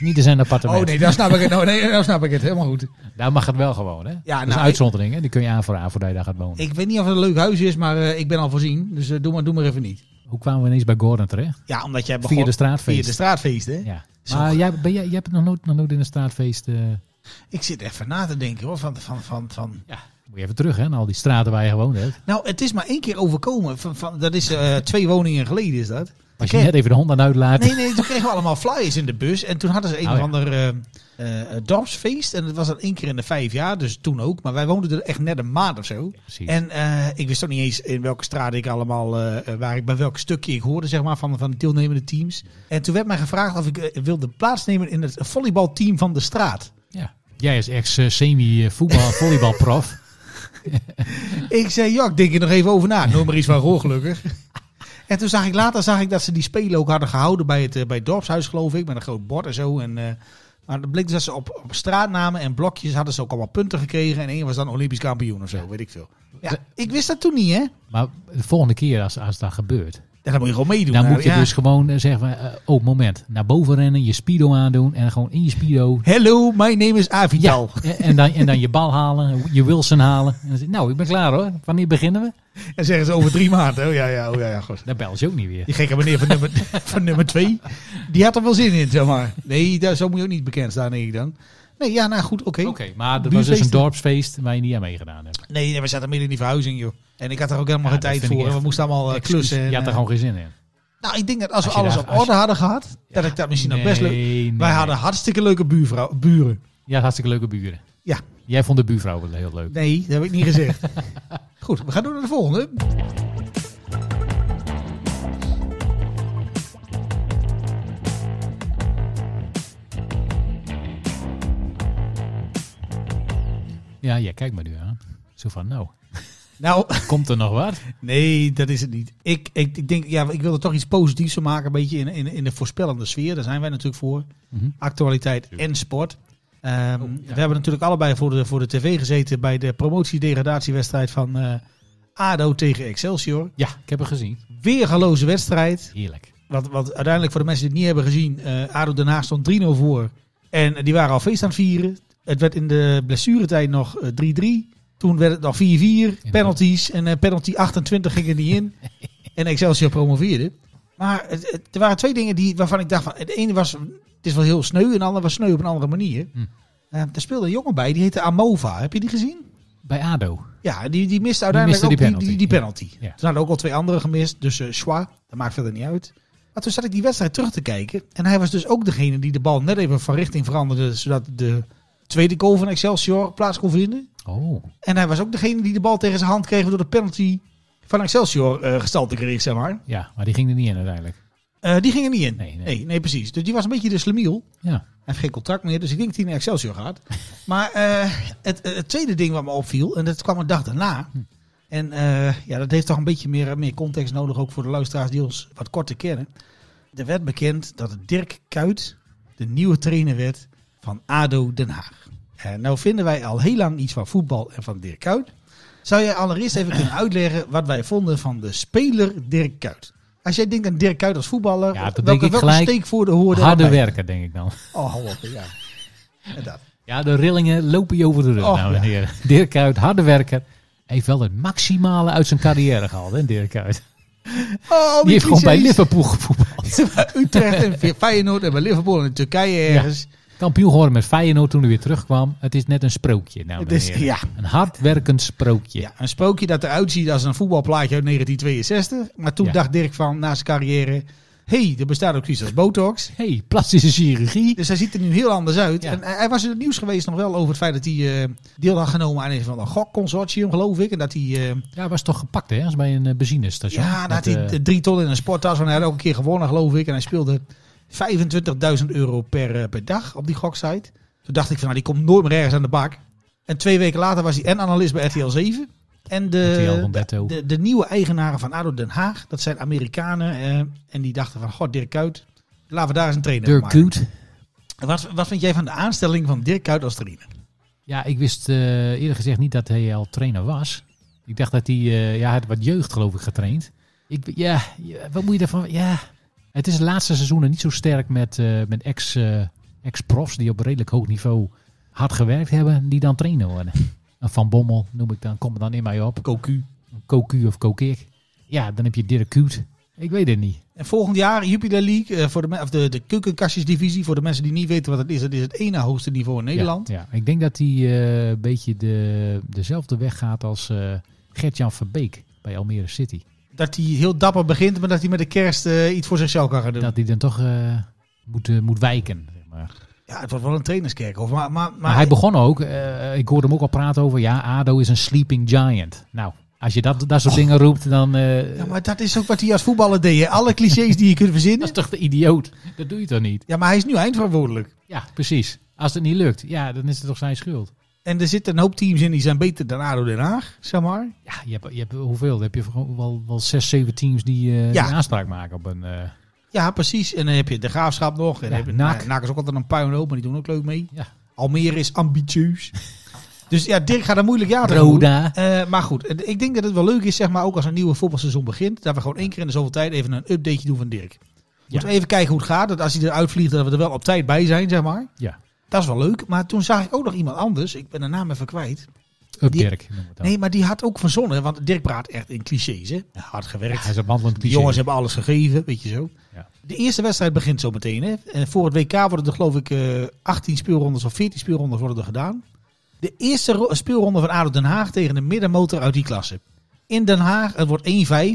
niet in zijn appartement. Oh nee, dan snap ik het. Nou, nee, dan snap ik het helemaal goed. Daar mag het wel gewoon, hè? Ja, dat nou, is een ik- uitzondering, hè? Die kun je aan voor aan voordat je daar gaat wonen. Ik weet niet of het een leuk huis is, maar eh, ik ben al voorzien. Dus eh, doe, maar, doe maar even niet. Hoe kwamen we ineens bij Gordon terecht? Ja, omdat jij Via de straatfeest. Via de straatfeest, hè? Ja. Zo. Maar jij, ben jij, jij hebt nog nooit, nog nooit in een straatfeest... eh, Ik zit even na te denken hoor, van, van, van, van Moet je even terug, hè? Naar al die straten waar je gewoond hebt. Nou, het is maar één keer overkomen. Van, van, dat is eh, twee woningen geleden is dat. Als je Oké. net even de hond aan uitlaat. Nee, nee, toen kregen we allemaal flyers in de bus. En toen hadden ze een Oh, of ja. ander eh, eh, eh, dorpsfeest. En dat was dan één keer in de vijf jaar, dus toen ook. Maar wij woonden er echt net een maand of zo. Precies. En eh, ik wist ook niet eens in welke straat ik allemaal, eh, eh, waar ik bij welk stukje ik hoorde, zeg maar, van, van de deelnemende teams. En toen werd mij gevraagd of ik eh, wilde plaatsnemen in het volleybalteam van de straat. Ja. Jij is eh, (laughs) ex-semi-voetbal-volleybalprof. Ik zei, ja, ik denk er nog even over na. Ik Noem maar iets van roer, gelukkig. (laughs) En toen zag ik later zag ik dat ze die spelen ook hadden gehouden bij het, eh, bij het dorpshuis, geloof ik. Met een groot bord en zo. En, eh, maar dan bleek dus dat ze op, op straatnamen en blokjes hadden ze ook allemaal punten gekregen. En één was dan Olympisch kampioen of zo, weet ik veel. Ja, ik wist dat toen niet, hè? maar de volgende keer als, als dat gebeurt, Ja, dan moet je gewoon meedoen. dan Nou, moet je ja. dus gewoon eh, zeggen, van, eh, oh moment, naar boven rennen, je speedo aandoen en gewoon in je speedo. Hello, my name is Avital. en- en dan, en dan je bal halen, je Wilson halen. En dan zeg je, nou, ik ben klaar hoor. Wanneer beginnen we? En zeggen ze over drie maanden. Oh ja, ja, oh ja, ja, goed. Dan bel je ook niet weer. Die gekke meneer van nummer, (laughs) van nummer twee, die had er wel zin in, zeg maar. Nee, daar, zo moet je ook niet bekend staan, denk ik dan. Nee, ja, nou goed, oké. Oké, maar dat was dus een Buurfeesten. dorpsfeest waar je niet aan meegedaan hebt. Nee, nee, we zaten midden in die verhuizing, joh. En ik had er ook helemaal Ja, geen dat tijd vind ik voor. en We echt moesten allemaal eh, Excuus, klussen. en, Je had er eh, gewoon geen zin in. Nou, ik denk dat als we Als je alles daar- op als orde hadden gehad, dat ik dat misschien nog best leuk... Nee, Wij nee. hadden hartstikke leuke buurvrouw, buren. Je had hartstikke leuke buren. Ja. Jij vond de buurvrouw wel heel leuk. Nee, dat heb ik niet (laughs) gezegd. Goed, we gaan door naar de volgende. Ja, ja, kijk maar nu aan. Zo van, nou, Nou, komt er nog wat? nee, dat is het niet. Ik, ik, ik denk, ja, ik wilde toch iets positiefs van maken. Een beetje in, in, in de voorspellende sfeer. Daar zijn wij natuurlijk voor. Mhm. Actualiteit en sport. Ehm, We hebben natuurlijk allebei voor de, voor de tv gezeten bij de promotiedegradatiewedstrijd van eh, ADO tegen Excelsior. Ja, ik heb hem gezien. Weergaloze wedstrijd. Heerlijk. Want, want uiteindelijk, voor de mensen die het niet hebben gezien, eh ADO Den Haag stond 3-0 voor. En die waren al feest aan het vieren. Het werd in de blessuretijd nog eh, 3-3. Toen werd het nog 4-4. Penalties. En eh, penalty 28 ging er niet in. En Excelsior promoveerde. Maar het- het- er waren twee dingen die, waarvan ik dacht van... Het ene was, het is wel heel sneu. En het andere was sneu op een andere manier. Hm. Eh, er speelde een jongen bij, die heette Amova. Heb je die gezien? Bij ADO. Ja, die, die miste uiteindelijk miste die ook die- die, die, penalty. penalty. Ja. Toen hadden ook al twee anderen gemist. Dus eh Schwa, dat maakt verder niet uit. Maar toen zat ik die wedstrijd terug te kijken. En hij was dus ook degene die de bal net even van richting veranderde. Zodat de tweede goal van Excelsior plaats kon vinden. Oh. En hij was ook degene die de bal tegen zijn hand kreeg. Door de penalty van Excelsior eh gestalte kreeg, zeg maar. Ja, maar die ging er niet in uiteindelijk. Eh, die ging er niet in. Nee, nee. precies. Dus die was een beetje de slemiel. Ja. Hij heeft geen contract meer, dus ik denk dat hij naar Excelsior (laughs) gaat. Maar eh, het, het tweede ding wat me opviel, en dat kwam een dag daarna. Hm. En eh, ja, dat heeft toch een beetje meer, meer context nodig, ook voor de luisteraars die ons wat korter kennen. Er werd bekend dat Dirk Kuyt de nieuwe trainer werd van ADO Den Haag. Eh, nou vinden wij al heel lang iets van voetbal en van Dirk Kuyt. Zou jij allereerst even (laughs) kunnen uitleggen wat wij vonden van de speler Dirk Kuyt? Als jij denkt aan Dirk Kuyt als voetballer, Ja, dat denk welke, ik welke gelijk steek voor de hoorde Harde daarbij? werken, denk ik dan. Oh, hou op, ja. En dat. Ja, de rillingen lopen je over de rug, Och, dames en Oh, ja. heren. Dirk Kuyt, harde werker. Heeft wel het maximale uit zijn carrière gehaald, hè, Dirk Kuyt. Oh, Die heeft gewoon bij Liverpool gevoetbald. (laughs) Utrecht en bij Feyenoord en bij Liverpool en Turkije ergens. Kampioen geworden met Feyenoord toen hij weer terugkwam. Het is net een sprookje, dames Het is- en heren. ja. Een hardwerkend sprookje. Ja. een sprookje dat eruit ziet als een voetbalplaatje uit 1962. Maar toen Ja. dacht Dirk van, na zijn carrière, hé, hey, er bestaat ook iets als botox. hey, plastische chirurgie. Dus hij ziet er nu heel anders uit. Ja. En hij hij was in het nieuws geweest nog wel over het feit dat hij eh, deel had genomen aan een van een gokconsortium, geloof ik. En dat hij, eh, Ja, was toch gepakt, hè? Als bij een eh, benzinestation. ja, dat Met, had hij eh, d- drie ton in een sporttas. En hij had ook een keer gewonnen, geloof ik. En hij speelde 25.000 euro per, eh, per dag op die goksite. Toen dacht ik van, nou, die komt nooit meer ergens aan de bak. En twee weken later was hij en analist bij RTL 7. En RTL de, Rombetto. de, de nieuwe eigenaren van ADO Den Haag, dat zijn Amerikanen. eh, en die dachten van, god, Dirk Kuyt, laten we daar eens een trainer van Dirk maken. Kuyt. Wat, wat vind jij van de aanstelling van Dirk Kuyt als trainer? Ja, ik wist eh, eerder gezegd niet dat hij al trainer was. Ik dacht dat hij, eh, ja, hij had wat jeugd geloof ik getraind. Ik, ja, ja, wat moet je daarvan? Ja, het is het laatste seizoen niet zo sterk met, eh, met ex, eh, ex-profs die op redelijk hoog niveau hard gewerkt hebben, die dan trainer worden. Een Van Bommel noem ik dan, kom er dan in mij op. Koku. Een Koku of Kokik. Ja, dan heb je Dirk Kuyt. Ik weet het niet. En volgend jaar Jupiler League, eh, voor de, me- of de, de keukenkastjesdivisie. Voor de mensen die niet weten wat het is, dat is het ene hoogste niveau in Nederland. Ja, ja. ik denk dat hij eh, een beetje de, dezelfde weg gaat als eh Gert-Jan Verbeek bij Almere City. Dat hij heel dapper begint, maar dat hij met de kerst eh, iets voor zichzelf kan gaan doen. dat hij dan toch eh, moet, eh, moet wijken. Zeg maar. maar, Ja, het wordt wel een trainerskerkhof. Maar, maar, maar, hij begon ook, eh, ik hoorde hem ook al praten over, ja, ADO is een sleeping giant. Nou, als je dat, dat soort dingen roept, dan... eh, Ja, maar dat is ook wat hij als voetballer deed. hè. Alle clichés die je kunt Dat is verzinnen. toch de idioot? Dat doe je toch niet? Ja, maar hij is nu eindverantwoordelijk. Ja, precies. Als het niet lukt, ja, dan is het toch zijn schuld. En er zitten een hoop teams in die zijn beter dan ADO Den Haag, zeg maar. Ja, je hebt, je hebt hoeveel? Dan heb je gewoon wel, wel zes, zeven teams die, eh, Ja. die aanspraak maken op een... eh, Ja, precies. En dan heb je de Graafschap nog. En Ja, dan heb je, NAC. NAC. NAC is ook altijd een puinhoop, maar die doen ook leuk mee. ja. Almere is ambitieus. dus ja, Dirk gaat een moeilijk jaar tegemoet. Roda. Eh, maar goed, eh, ik denk dat het wel leuk is, zeg maar, ook als een nieuwe voetbalseizoen begint, dat we gewoon één keer in de zoveel tijd even een updateje doen van Dirk. Moeten we even kijken hoe het gaat, dat als hij eruit vliegt, dat we er wel op tijd bij zijn, zeg maar. ja. Dat is wel leuk, maar toen zag ik ook nog iemand anders, ik ben de naam even kwijt. Up Die- Dirk noemen we het dan. Nee, maar die had ook verzonnen, want Dirk praat echt in clichés, hè. Hard Ja, gewerkt, hij is een wandelend die cliché. jongens hebben alles gegeven, weet je zo. Ja. De eerste wedstrijd begint zo meteen. Hè. En voor het WK worden er geloof ik eh, 18 speelrondes of 14 speelrondes worden er gedaan. De eerste ro- speelronde van ADO Den Haag tegen de middenmotor uit die klasse. In Den Haag, het wordt 1-5.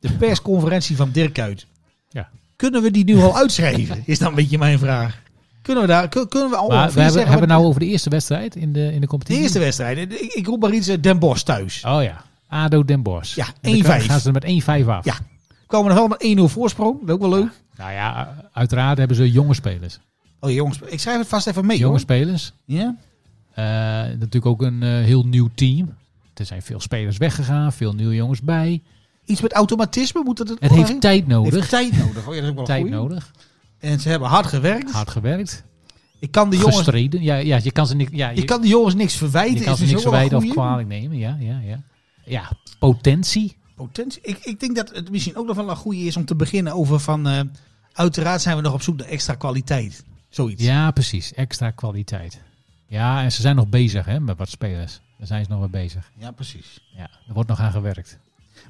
De persconferentie van Dirk Kuyt. Ja. Kunnen we die nu al uitschrijven? Is dan een beetje mijn vraag. Kunnen we daar, kun- kunnen we al Maar al we vier hebben, zeggen hebben wat- nou over de eerste wedstrijd in de, in de de competitie? eerste wedstrijd. Ik- Ik roep maar iets, eh, Den Bosch thuis. Oh ja, ADO Den Bosch. Ja, En dan 1-5. Gaan ze er met 1-5 af. Ja. Komen nog wel met 1-0 voorsprong. Dat is ook wel leuk. Nou ja, uiteraard hebben ze jonge spelers. Oh jongens, ik schrijf het vast even mee. Jonge Jongens. spelers. Ja? Eh, natuurlijk ook een eh, heel nieuw team. Er zijn veel spelers weggegaan, veel nieuwe jongens bij. Iets met automatisme moet het. Het heeft tijd nodig. Heeft tijd nodig. Oh, ja, dat is ook wel een tijd goeie. nodig. En ze hebben hard gewerkt. Hard gewerkt. Ik kan de jongens, Gestreden. Ja, ja, je kan ze, niks- ja, je, ik kan de jongens niks je verwijten. kan is ze dus niks ook wel een verwijten of goeie. kwalijk nemen. Ja, ja, ja. ja potentie. Potentie. Ik, ik denk dat het misschien ook nog wel een goede is om te beginnen over van. eh, uiteraard zijn we nog op zoek naar extra kwaliteit. Zoiets. Ja, precies. Extra kwaliteit. Ja, en ze zijn nog bezig hè, met wat spelers. Daar zijn ze nog mee bezig. Ja, precies. Ja, er wordt nog aan gewerkt.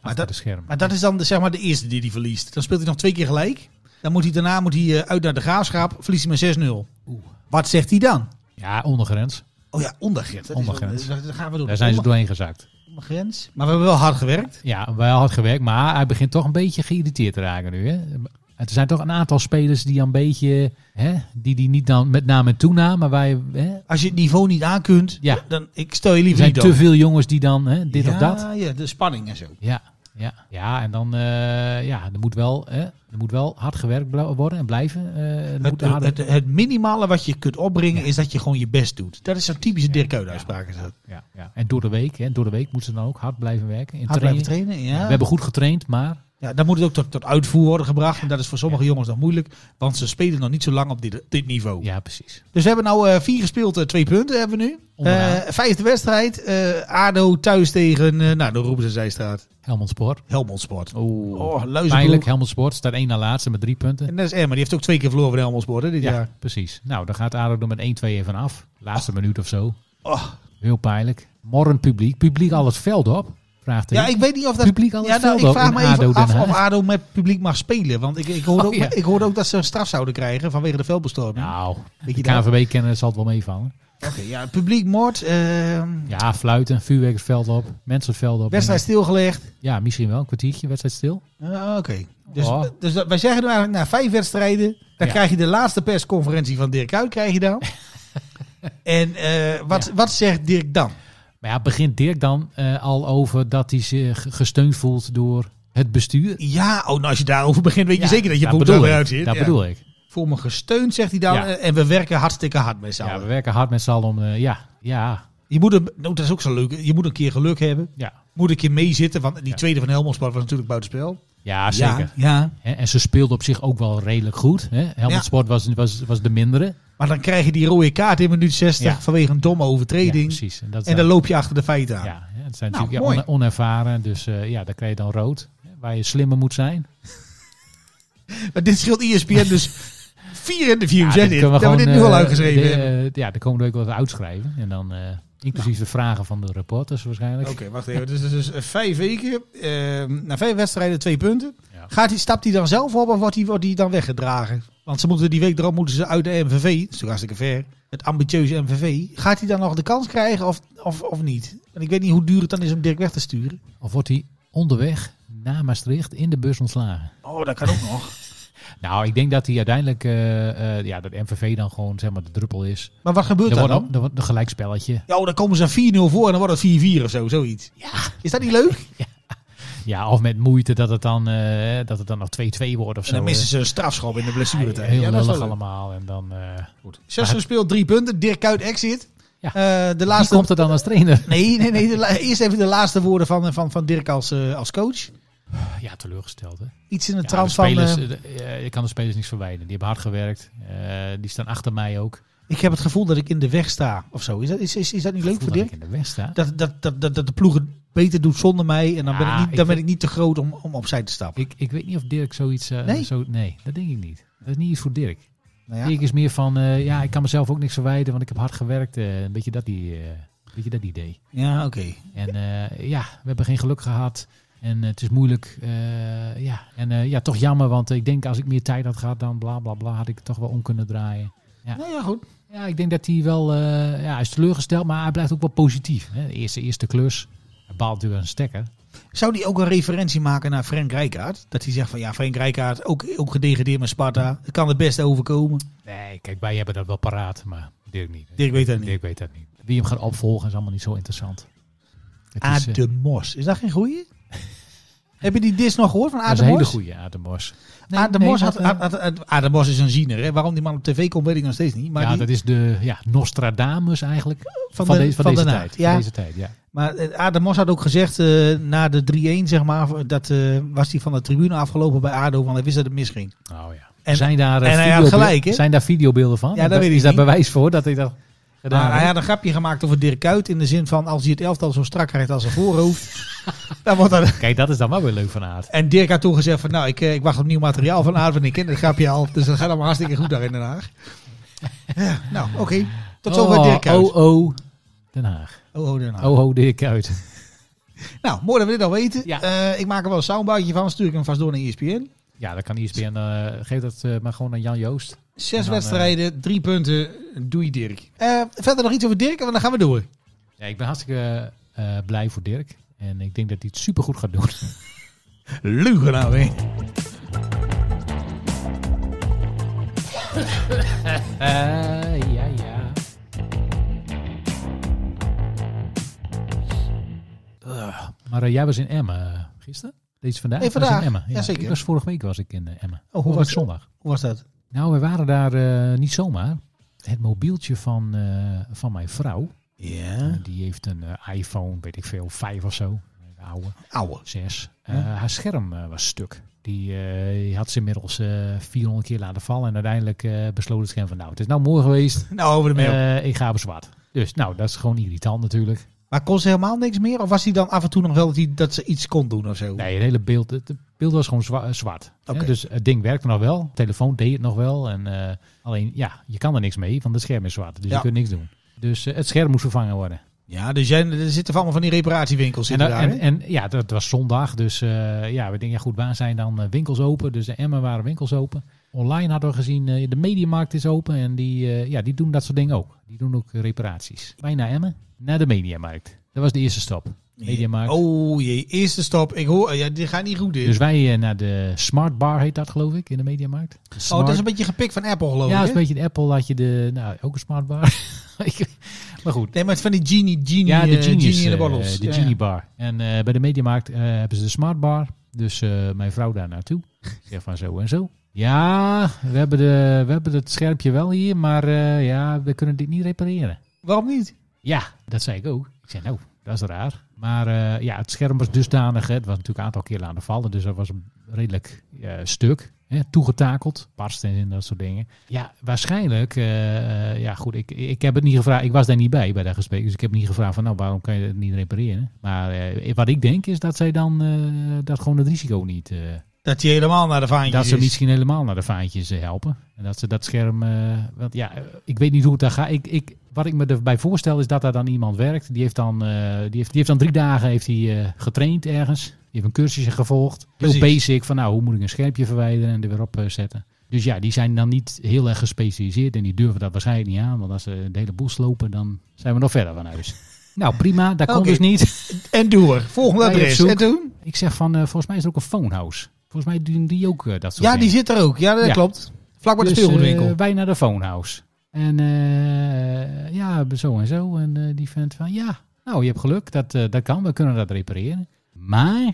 Achter dat- de schermen. Maar dat is dan de, zeg maar de eerste die hij verliest. Dan speelt hij nog twee keer gelijk. Dan moet hij daarna moet hij, eh, uit naar de graafschap. Verliest hij met 6-0. Oeh. Wat zegt hij dan? Ja, ondergrens. Oh ja, ondergrens. Dat is wel- Ondergrens. dat- dat gaan we doen. Daar zijn ze Onder- doorheen gezakt. Ondergrens. Maar we hebben wel hard gewerkt. Ja, wel hard gewerkt, maar hij begint toch een beetje geïrriteerd te raken nu. Hè? Er zijn toch een aantal spelers die een beetje, hè, die, die niet dan met naam en toenaam, maar wij, hè, Als je het niveau niet aankunt, Ja. dan ik stel je er liever zijn niet te dood. veel jongens die dan hè, dit ja, of dat. Ja, de spanning en zo. Ja, ja. ja en dan, eh, ja, er moet wel, hè, er moet wel hard gewerkt bla- worden en blijven. eh, er Het, moet harder- het, het minimale wat je kunt opbrengen is dat je gewoon je best doet. Dat is zo'n typische Dirk Kuyt uitspraak. is dat. ja, ja. En door de week, hè, door de week moeten ze dan ook hard blijven werken. In Hard blijven training. trainen, We ja. hebben goed getraind, maar ja. Dan moet het ook tot, tot uitvoer worden gebracht. En dat is voor sommige jongens dan moeilijk, want ze spelen nog niet zo lang op dit, dit niveau. ja, precies. Dus we hebben nou eh, vier gespeeld, eh, twee punten hebben we nu. Onderaan. Eh, vijfde wedstrijd, eh, ADO thuis tegen, eh nou dan roepen ze Zijstraat, Helmond Sport. Helmond Sport. Oeh. Oh, Luizenbroek. Pijnlijk, Helmond Sport staat één na laatste met drie punten. En dat is Emma, die heeft ook twee keer verloren van Helmond Sport hè, dit Ja, jaar. precies. Nou, dan gaat ADO er met 1-2 even af. Laatste minuut of zo. Oh. Heel pijnlijk. Morgen publiek. Publiek al het veld op? Vraagt hij. Ja, ik weet niet of dat Publiek al het Ja, nou, veld ik op vraag in me even ADO Den af of Haag. ADO met publiek mag spelen. Want ik, ik, hoorde, Oh, ook, ja. ik hoorde ook dat ze een straf zouden krijgen vanwege de veldbestorming. Nou, Weet je de dat? KNVB-kenner zal het wel meevallen. Oké, ja, publiek moord, ehm, Ja, fluiten, vuurwerk het veld op, mensen het veld op. wedstrijd stilgelegd. En, ja, misschien wel een kwartiertje, wedstrijd stil. Ah, Oké, dus, Oh. dus dat- wij zeggen nu eigenlijk na vijf wedstrijden, dan Ja. krijg je de laatste persconferentie van Dirk uit, krijg je (laughs) dan. en eh, wat, wat zegt Dirk dan? Maar ja, begint Dirk dan eh, al over dat hij zich gesteund voelt door het bestuur? Ja, oh, nou, als je daarover begint, weet je Ja, zeker dat je daar boek bedoel ik. eruit zit. Dat ja. bedoel ik. voor me gesteund, zegt hij dan. eh, Ja. En we werken hartstikke hard met z'n Ja, allen. we werken hard met z'n allen om... eh, ja, ja, Je moet een, nou, dat is ook zo leuk. Je moet een keer geluk hebben. ja. Moet een keer meezitten. Want die Ja. tweede van Helmondsport was natuurlijk buitenspel. Ja, zeker. Ja, ja. Hè, En ze speelde op zich ook wel redelijk goed. Hè? Helmond Ja. Sport was, was, was de mindere. Maar dan krijg je die rode kaart in minuut 60 Ja. vanwege een domme Ja, overtreding. precies. En, dat en zijn- dan loop je achter de feiten aan. Ja, hè, het zijn Nou, natuurlijk ja, mooi. on- onervaren. Dus eh, ja, daar krijg je dan rood. hè, Waar je slimmer moet zijn. Maar dit scheelt ESPN dus (laughs) vier interviews. dit hè, dit. dat we dit nu eh, al uitgeschreven de- hebben. eh, ja, de komende week wel wat uitschrijven. En dan eh, inclusief de vragen van de reporters waarschijnlijk. Nou. (laughs) Oké, wacht even. Dus, dus, dus eh, vijf weken, eh, na vijf wedstrijden twee punten. Ja. Gaat die, stapt hij dan zelf op of wordt hij wordt die dan weggedragen? Want ze moeten die week erop moeten ze uit de MVV. Dat is natuurlijk hartstikke ver. Het ambitieuze MVV. Gaat hij dan nog de kans krijgen of, of, of niet? En ik weet niet hoe duur het dan is om Dirk weg te sturen. Of wordt hij onderweg naar Maastricht in de bus ontslagen? Oh, dat kan ook nog. (laughs) Nou, ik denk dat hij uiteindelijk... eh, eh, ja, dat MVV dan gewoon zeg maar de druppel is. Maar wat gebeurt Er daar wordt, dan? ook- er wordt een gelijkspelletje. Ja, oh, dan komen ze 4-0 voor en dan wordt het 4-4 of zo, zoiets. Is dat niet leuk? Ja, of met moeite dat het dan, eh, dat het dan nog 2-2 wordt of zo. En dan missen ze een strafschop in de blessuretijd. Heel ja, dat is wel lullig leuk. allemaal. En dan, eh, Zes gespeeld, drie punten. Dirk Kuyt exit. Ja. Eh, de wie laatste... komt er dan als (laughs) trainer? Nee, nee, nee. de la- Eerst even de laatste woorden van, eh, van, van Dirk als, eh, als coach. Ja, teleurgesteld hè. Iets in de Ja, trant de spelers, van... eh, eh, eh, ik kan de spelers niks verwijden. Die hebben hard gewerkt. Eh, die staan achter mij ook. ik heb het gevoel dat ik in de weg sta of zo. Is dat, is, is, is dat niet leuk Voel voor dat ik Dirk? in de West sta. Dat, dat, dat, dat, dat de ploeg het beter doet zonder mij. En dan, ben, ik Ja, niet, ik dan ben vind- ik niet te groot om, om opzij te stappen. Ik, ik weet niet of Dirk zoiets... eh, Nee? Zo, nee, dat denk ik niet. Dat is niet iets voor Dirk. nou ja, Dirk is meer van... eh, ja, ik kan mezelf ook niks verwijden, want ik heb hard gewerkt. eh, een beetje dat, die, eh, een beetje dat idee. ja oké. En eh, ja, we hebben geen geluk gehad. En eh, het is moeilijk. eh, ja. En eh, ja, toch jammer, want ik denk als ik meer tijd had gehad dan bla bla bla, had ik het toch wel om kunnen draaien. Nou ja, goed. Ja, ik denk dat hij wel, eh, ja, hij is teleurgesteld, maar hij blijft ook wel positief. Hè. De eerste, eerste klus, hij baalt natuurlijk aan een stekker. Zou die ook een referentie maken naar Frank Rijkaard? Dat hij zegt van ja, Frank Rijkaard, ook, ook gedegradeerd met Sparta. Het kan het beste overkomen. Nee, kijk, wij hebben dat wel paraat, maar Dirk niet. Dirk weet dat niet. Dirk weet dat niet. Wie hem gaat opvolgen is allemaal niet zo interessant. Het is, eh, Ademos. Is dat geen goeie? (laughs) Heb je die dis nog gehoord van dat is Ademos? een hele goede Ademos. Nee, Ademos, nee, had, dat, eh, had, had- had- Ademos is een ziener. Hè? Waarom die man op tv komt, weet ik nog steeds niet. Maar, ja, die- dat is de ja, Nostradamus eigenlijk van, de- deze, van, van deze, de tijd, naad, ja. van deze tijd. Ja. maar eh, Ademos had ook gezegd eh, na de 3-1, zeg maar, dat eh, was hij van de tribune afgelopen bij ADO, want hij wist dat het misging. Oh, ja. En- zijn, daar, eh, en hij had videobeel- gelijk, hè? zijn daar videobeelden van? Ja, dat Is weet ik Is daar niet. bewijs voor dat hij dat gedaan Maar hij heeft? had een grapje gemaakt over Dirk Kuyt in de zin van als hij het elftal zo strak krijgt als een (laughs) voorhoofd, dan wordt dat... Kijk, dat is dan wel weer leuk van Aard. En Dirk had toen gezegd van nou, ik, eh, ik wacht op nieuw materiaal van Aard, want ik ken het grapje al. Dus dat gaat allemaal hartstikke goed daar in Den Haag. Ja, nou, oké. Tot zover oh, Dirk Kuyt. Oh, oh, Den Haag. Oh, oh, Den Haag. Oh, oh, Dirk uit. Nou, mooi dat we dit al weten. Ja. Eh, ik maak er wel een soundboutje van, stuur ik hem vast door naar E ESPN. Ja, dan kan ISBN. eh geef dat eh, maar gewoon aan Jan Joost. Zes En dan, eh, wedstrijden, drie punten. Doei Dirk. Eh, verder nog iets over Dirk, want dan gaan we door. Ja, ik ben hartstikke eh, blij voor Dirk. En ik denk dat hij het supergoed gaat doen. Lugen nou weer. Eh, ja, ja. Ugh. Maar eh, jij was in Emmen eh, gisteren? Deze vandaag? Nee, Ik was vandaag. in Emmen. Ja, Jazeker. Oh, Ik was vorige week was ik in eh, Emmen. hoe Vorige was week het? zondag. Hoe was dat? Nou, we waren daar eh, niet zomaar. Het mobieltje van, eh, van mijn vrouw. Ja. Die heeft een eh, iPhone, weet ik veel, 5 of zo. De oude, Ouwe. 6. haar scherm eh, was stuk. Die, eh, die had ze inmiddels eh 400 keer laten vallen. En uiteindelijk eh, besloot het scherm van, nou, het is nou mooi geweest. Nou, over de mail. Eh, ik ga op zwart. Dus nou, dat is gewoon irritant natuurlijk. maar kon ze helemaal niks meer? Of was hij dan af en toe nog wel dat, hij, dat ze iets kon doen of zo? Nee, het hele beeld, het beeld was gewoon zwa- eh, zwart. hè. Oké. Dus het ding werkte nog wel. De telefoon deed het nog wel. En, eh, alleen, ja, je kan er niks mee, want het scherm is zwart. Dus Ja. je kunt niks doen. Dus eh, het scherm moest vervangen worden. Ja, dus jij, er zitten allemaal van die reparatiewinkels in En, eh, daar. en, hè? en ja, dat was zondag. Dus eh, ja, we denken, ja, goed, waar zijn dan eh, winkels open? Dus de Emmen waren winkels open. Online hadden we gezien, eh, de mediamarkt is open. En die, eh, ja, die doen dat soort dingen ook. Die doen ook reparaties. Wij naar Emmen, naar de mediamarkt. Dat was de eerste stap. Mediamarkt. Oh jee, eerste stap. Ik hoor, ja, dit gaat niet goed dit. Oh, Dus wij eh, naar de Smart Bar heet dat geloof ik in de Mediamarkt. oh, dat is een beetje oh, gepikt van Apple geloof ja, dat ik. is hè? een beetje de Apple had je de, nou ook een Smart Bar. (laughs) Ik- maar goed. Nee, maar het is van die Genie, Genie, Ja, de eh, Genie, Genie in de bottles. de Ja, Genie ja. Bar. En eh, bij de Mediamarkt eh, hebben ze de Smart Bar. Dus eh, mijn vrouw daar naartoe. Zeg van zo en zo. Ja, we hebben, de, we hebben het schermpje wel hier, maar eh, ja, we kunnen dit niet repareren. Waarom niet? Ja, dat zei ik ook. Ik zei, nou, dat is raar. Maar eh, ja, het scherm was dusdanig. Hè, het was natuurlijk een aantal keer aan de vallen, dus dat was een redelijk eh, stuk. Hè, toegetakeld, barsten en dat soort dingen. Ja, waarschijnlijk. eh, eh, ja, goed, ik, ik heb het niet gevraagd. Ik was daar niet bij bij dat gesprek. Dus ik heb niet gevraagd van, nou, waarom kan je het niet repareren? Maar eh, wat ik denk is dat zij dan eh, dat gewoon het risico niet. eh, Dat hij helemaal naar de vaantjes dat ze is. misschien helemaal naar de vaantjes eh, helpen. En dat ze dat scherm. eh, want ja, eh, ik weet niet hoe het daar gaat. Ik, ik, wat ik me erbij voorstel is dat daar dan iemand werkt. Die heeft dan, eh, die heeft, die heeft dan drie dagen heeft hij eh, getraind ergens. Die heeft een cursusje gevolgd. Heel Precies. basic van nou, hoe moet ik een schermpje verwijderen en er weer op eh, zetten. Dus ja, die zijn dan niet heel erg gespecialiseerd en die durven dat waarschijnlijk niet aan. Want als ze de hele boel slopen, dan zijn we nog verder (laughs) van huis. Nou prima, dat komt Oké. dus niet. En door. Volgende Wij op adres. zoek. En toen? Ik zeg van, eh, volgens mij is er ook een phonehouse. Volgens mij doen die ook eh, dat soort Ja, dingen. die zit er ook. Ja, dat Ja. klopt. Vlak bij de Dus, speelgoedwinkel. eh, wij naar de phonehouse. En eh, ja, zo en zo. En eh, die vent van, ja, nou, je hebt geluk. Dat, eh, dat kan, we kunnen dat repareren. Maar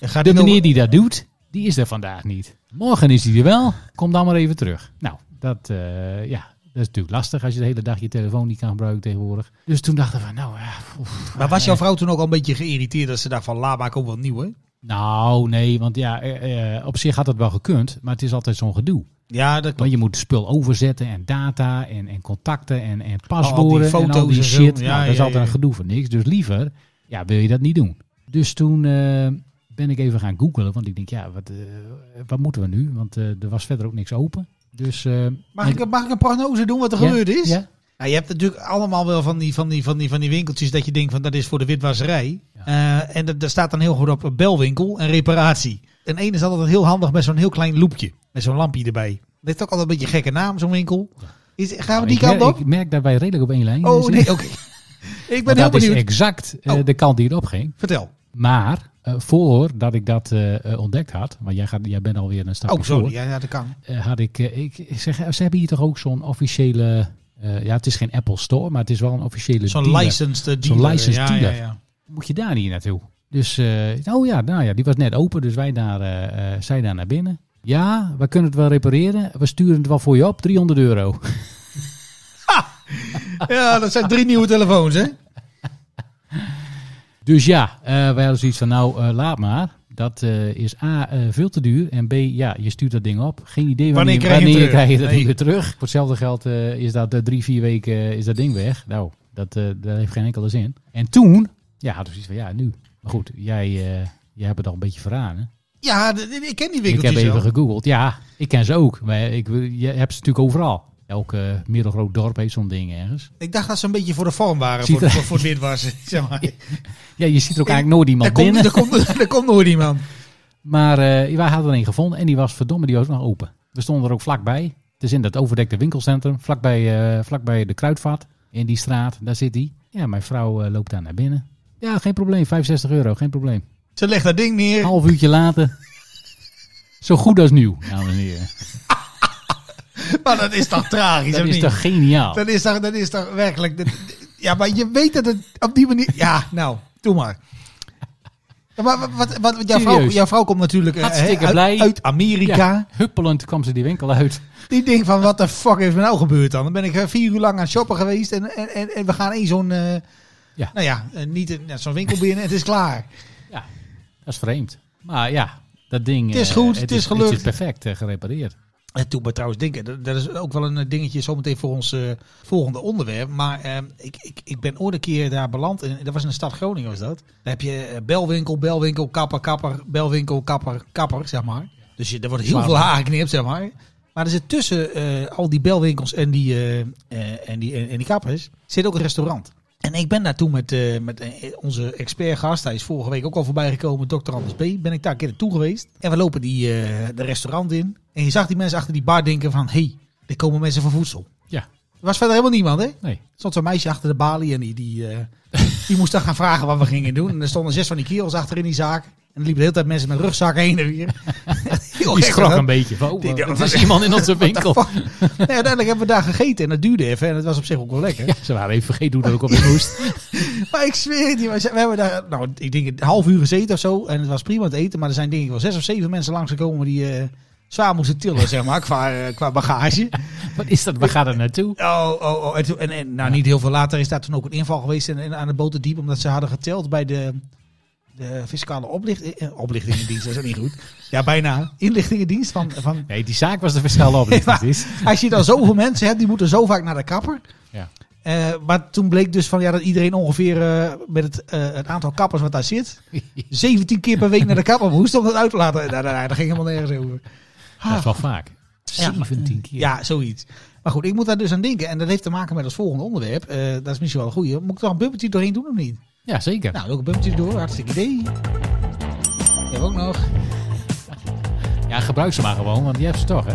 Gaat nou de die nog- meneer die dat doet, die is er vandaag niet. Morgen is hij er wel. Kom dan maar even terug. Nou, dat, eh, ja, dat is natuurlijk lastig als je de hele dag je telefoon niet kan gebruiken tegenwoordig. Dus toen dachten we, nou, ja, oef. Maar was jouw vrouw toen ook al een beetje geïrriteerd dat ze dacht van, la, maar ik ook wat nieuw, hè? nou, nee, want ja, eh, eh, op zich had het wel gekund. Maar het is altijd zo'n gedoe. Ja, dat Want klopt. je moet spul overzetten en data en, en contacten en, en paswoorden en al foto's die en zo. shit. Ja, nou, dat is ja, altijd ja. een gedoe voor niks. Dus liever ja, wil je dat niet doen. Dus toen eh, ben ik even gaan googlen. Want ik denk, ja, wat, eh, wat moeten we nu? Want eh, er was verder ook niks open. Dus, eh, Mag en- ik, mag ik een prognose doen wat er Ja, gebeurd is? ja. Nou, je hebt natuurlijk allemaal wel van die, van, die, van, die, van die winkeltjes dat je denkt van dat is voor de witwasserij. Ja. Eh, en dat, daar staat dan heel goed op belwinkel en reparatie. En één is altijd heel handig met zo'n heel klein loepje. Met zo'n lampje erbij. Dat heeft ook altijd een beetje een gekke naam, zo'n winkel. Is, gaan we die ik kant merk- op? Ik merk dat wij redelijk op één lijn oh zitten. nee, oké. (laughs) ik ben Want heel dat is benieuwd. exact eh, Oh. de kant die erop ging. Vertel. Maar eh, voordat ik dat eh, eh, ontdekt had, want jij, gaat, jij bent alweer een stapje Oh, sorry. voor. Ja, ja, dat kan. eh, had ik, eh, ik ik zeg, ze hebben hier toch ook zo'n officiële, eh, ja het is geen Apple Store, maar het is wel een officiële Zo'n dealer. licensed eh, dealer. licensed ja, dealer. Ja, (laughs) ja. Moet je daar niet naartoe? Dus, eh, oh ja, nou ja, die was net open, dus wij daar, eh, eh, zij daar naar binnen. Ja, we kunnen het wel repareren, we sturen het wel voor je op, 300 euro. Ja, dat zijn drie nieuwe telefoons, hè? Dus ja, eh, wij hadden zoiets van, nou eh, laat maar. Dat eh, is A, eh, veel te duur. En B, ja, je stuurt dat ding op. Geen idee wanneer, Wanneer krijg je het terug? krijg je dat Nee. ding weer terug. Voor hetzelfde geld eh, is dat eh, drie, vier weken eh, is dat ding weg. Nou, dat, eh, dat heeft geen enkele zin. En toen, ja, hadden we zoiets van, ja, nu. Maar goed, jij, eh, jij hebt het al een beetje verraden. hè? Ja, d- ik ken die Ik winkeltjes heb wel. even gegoogeld. Ja, ik ken ze ook. Maar ik, wil- je hebt ze natuurlijk overal. Elk eh, middelgroot dorp heeft zo'n ding ergens. Ik dacht dat ze een beetje voor de vorm waren, Ziet voor, er- voor, voor het witwassen. (laughs) Zeg maar. Ja, je ziet er ook eigenlijk nooit Daar iemand komt, binnen. daar, komt, daar komt nooit iemand. Maar eh, wij hadden er een gevonden en die was verdomme, die was nog open. We stonden er ook vlakbij. Het is in dat overdekte winkelcentrum, vlakbij, eh vlakbij de Kruidvat. In die straat, daar zit die. Ja, mijn vrouw eh, loopt daar naar binnen. Ja, geen probleem, 65 euro, geen probleem. Ze legt dat ding neer. Half uurtje later, zo goed als nieuw, Nou, dames en heren. Maar dat is toch tragisch, (laughs) Dat of is niet? toch geniaal? Dat is toch, dat is toch werkelijk... dat- ja, maar je weet dat het op die manier... Ja, nou, doe maar. Ja, maar wat, wat, wat- jouw, vrouw, Serieus. jouw vrouw komt natuurlijk eh, Hartstikke uit, blij. uit Amerika. Ja, huppelend kwam ze die winkel uit. Die denkt van, wat de fuck is me nou gebeurd dan? Dan ben ik eh, vier uur lang aan het shoppen geweest en, en, en, en we gaan één zo'n... eh, Ja. Nou ja, eh, niet een- nou, zo'n winkel binnen, het is klaar. Ja, dat is vreemd. Maar ja, dat ding... Het is eh, goed, het is Het gelukt. is perfect eh, gerepareerd. Het doet me trouwens denken, dat, dat is ook wel een eh, dingetje zometeen voor ons eh, volgende onderwerp. Maar eh, ik, ik, ik ben ooit een keer daar beland, en dat was in de stad Groningen was dat. Daar heb je eh, belwinkel, belwinkel, kapper, kapper, belwinkel, kapper, kapper, zeg maar. Dus je, er wordt heel Zwaar. veel haar geknipt, zeg maar. Maar er zit tussen eh, al die belwinkels en die, eh, eh, en, die, en, en die kappers, zit ook een restaurant. En ik ben daar toen met, eh, met eh, onze expertgast, hij is vorige week ook al voorbij gekomen, dokter Anders B. Ben ik daar een keer naartoe geweest. En we lopen die, eh, de restaurant in. En je zag die mensen achter die bar denken van, hé, hey, er komen mensen voor voedsel. Ja, Er was verder helemaal niemand, hè? Er nee. stond zo'n meisje achter de balie en die, die, eh, die moest dan gaan vragen wat we gingen doen. En er stonden zes van die kerels achter in die zaak. En er liepen de hele tijd mensen met rugzakken heen en weer. Heel (laughs) Die gek, schrok hè? een beetje. Wow, Die- die- (laughs) er is iemand in onze winkel. Fuck. (laughs) Nee, uiteindelijk hebben we daar gegeten en dat duurde even. En het was op zich ook wel lekker. Ja, ze waren even vergeten hoe dat ook op (laughs) de moest. Maar ik zweer het je, maar ze- we hebben daar, nou, ik denk een half uur gezeten of zo. En het was prima te eten, maar er zijn denk ik wel zes of zeven mensen langsgekomen die eh, zwaar moesten tillen, zeg maar, qua, eh, qua bagage. Wat is dat? Waar gaat dat naartoe? Oh, oh, oh. En, toen- en, en nou, niet heel veel later is daar toen ook een inval geweest in, in- aan de Boterdiep. Omdat ze hadden geteld bij de, de fiscale oplichting, eh, oplichtingendienst. dat is ook niet goed. Ja, bijna. Inlichtingendienst. Van, van, Nee, die zaak was de verschil op. Ja. dit is. als je dan zoveel mensen hebt, die moeten zo vaak naar de kapper. Ja. Eh, maar toen bleek dus van, ja, dat iedereen ongeveer eh, met het, eh, het aantal kappers wat daar (laughs) zit... 17 keer per week naar de kapper moest om dat uit te laten. Nou, nou, nou, daar ging helemaal nergens over. Dat is wel vaak. Ja, maar- 17 keer. Ja, zoiets. Maar goed, ik moet daar dus aan denken. En dat heeft te maken met ons volgende onderwerp. Eh, dat is misschien wel een goeie. Moet ik er een bumpertje doorheen doen of niet? Ja, zeker. Nou, doe ik een bumpertje door. Hartstikke idee. Die hebben we ook nog. Ja, gebruik ze maar gewoon, want die hebt ze toch, hè?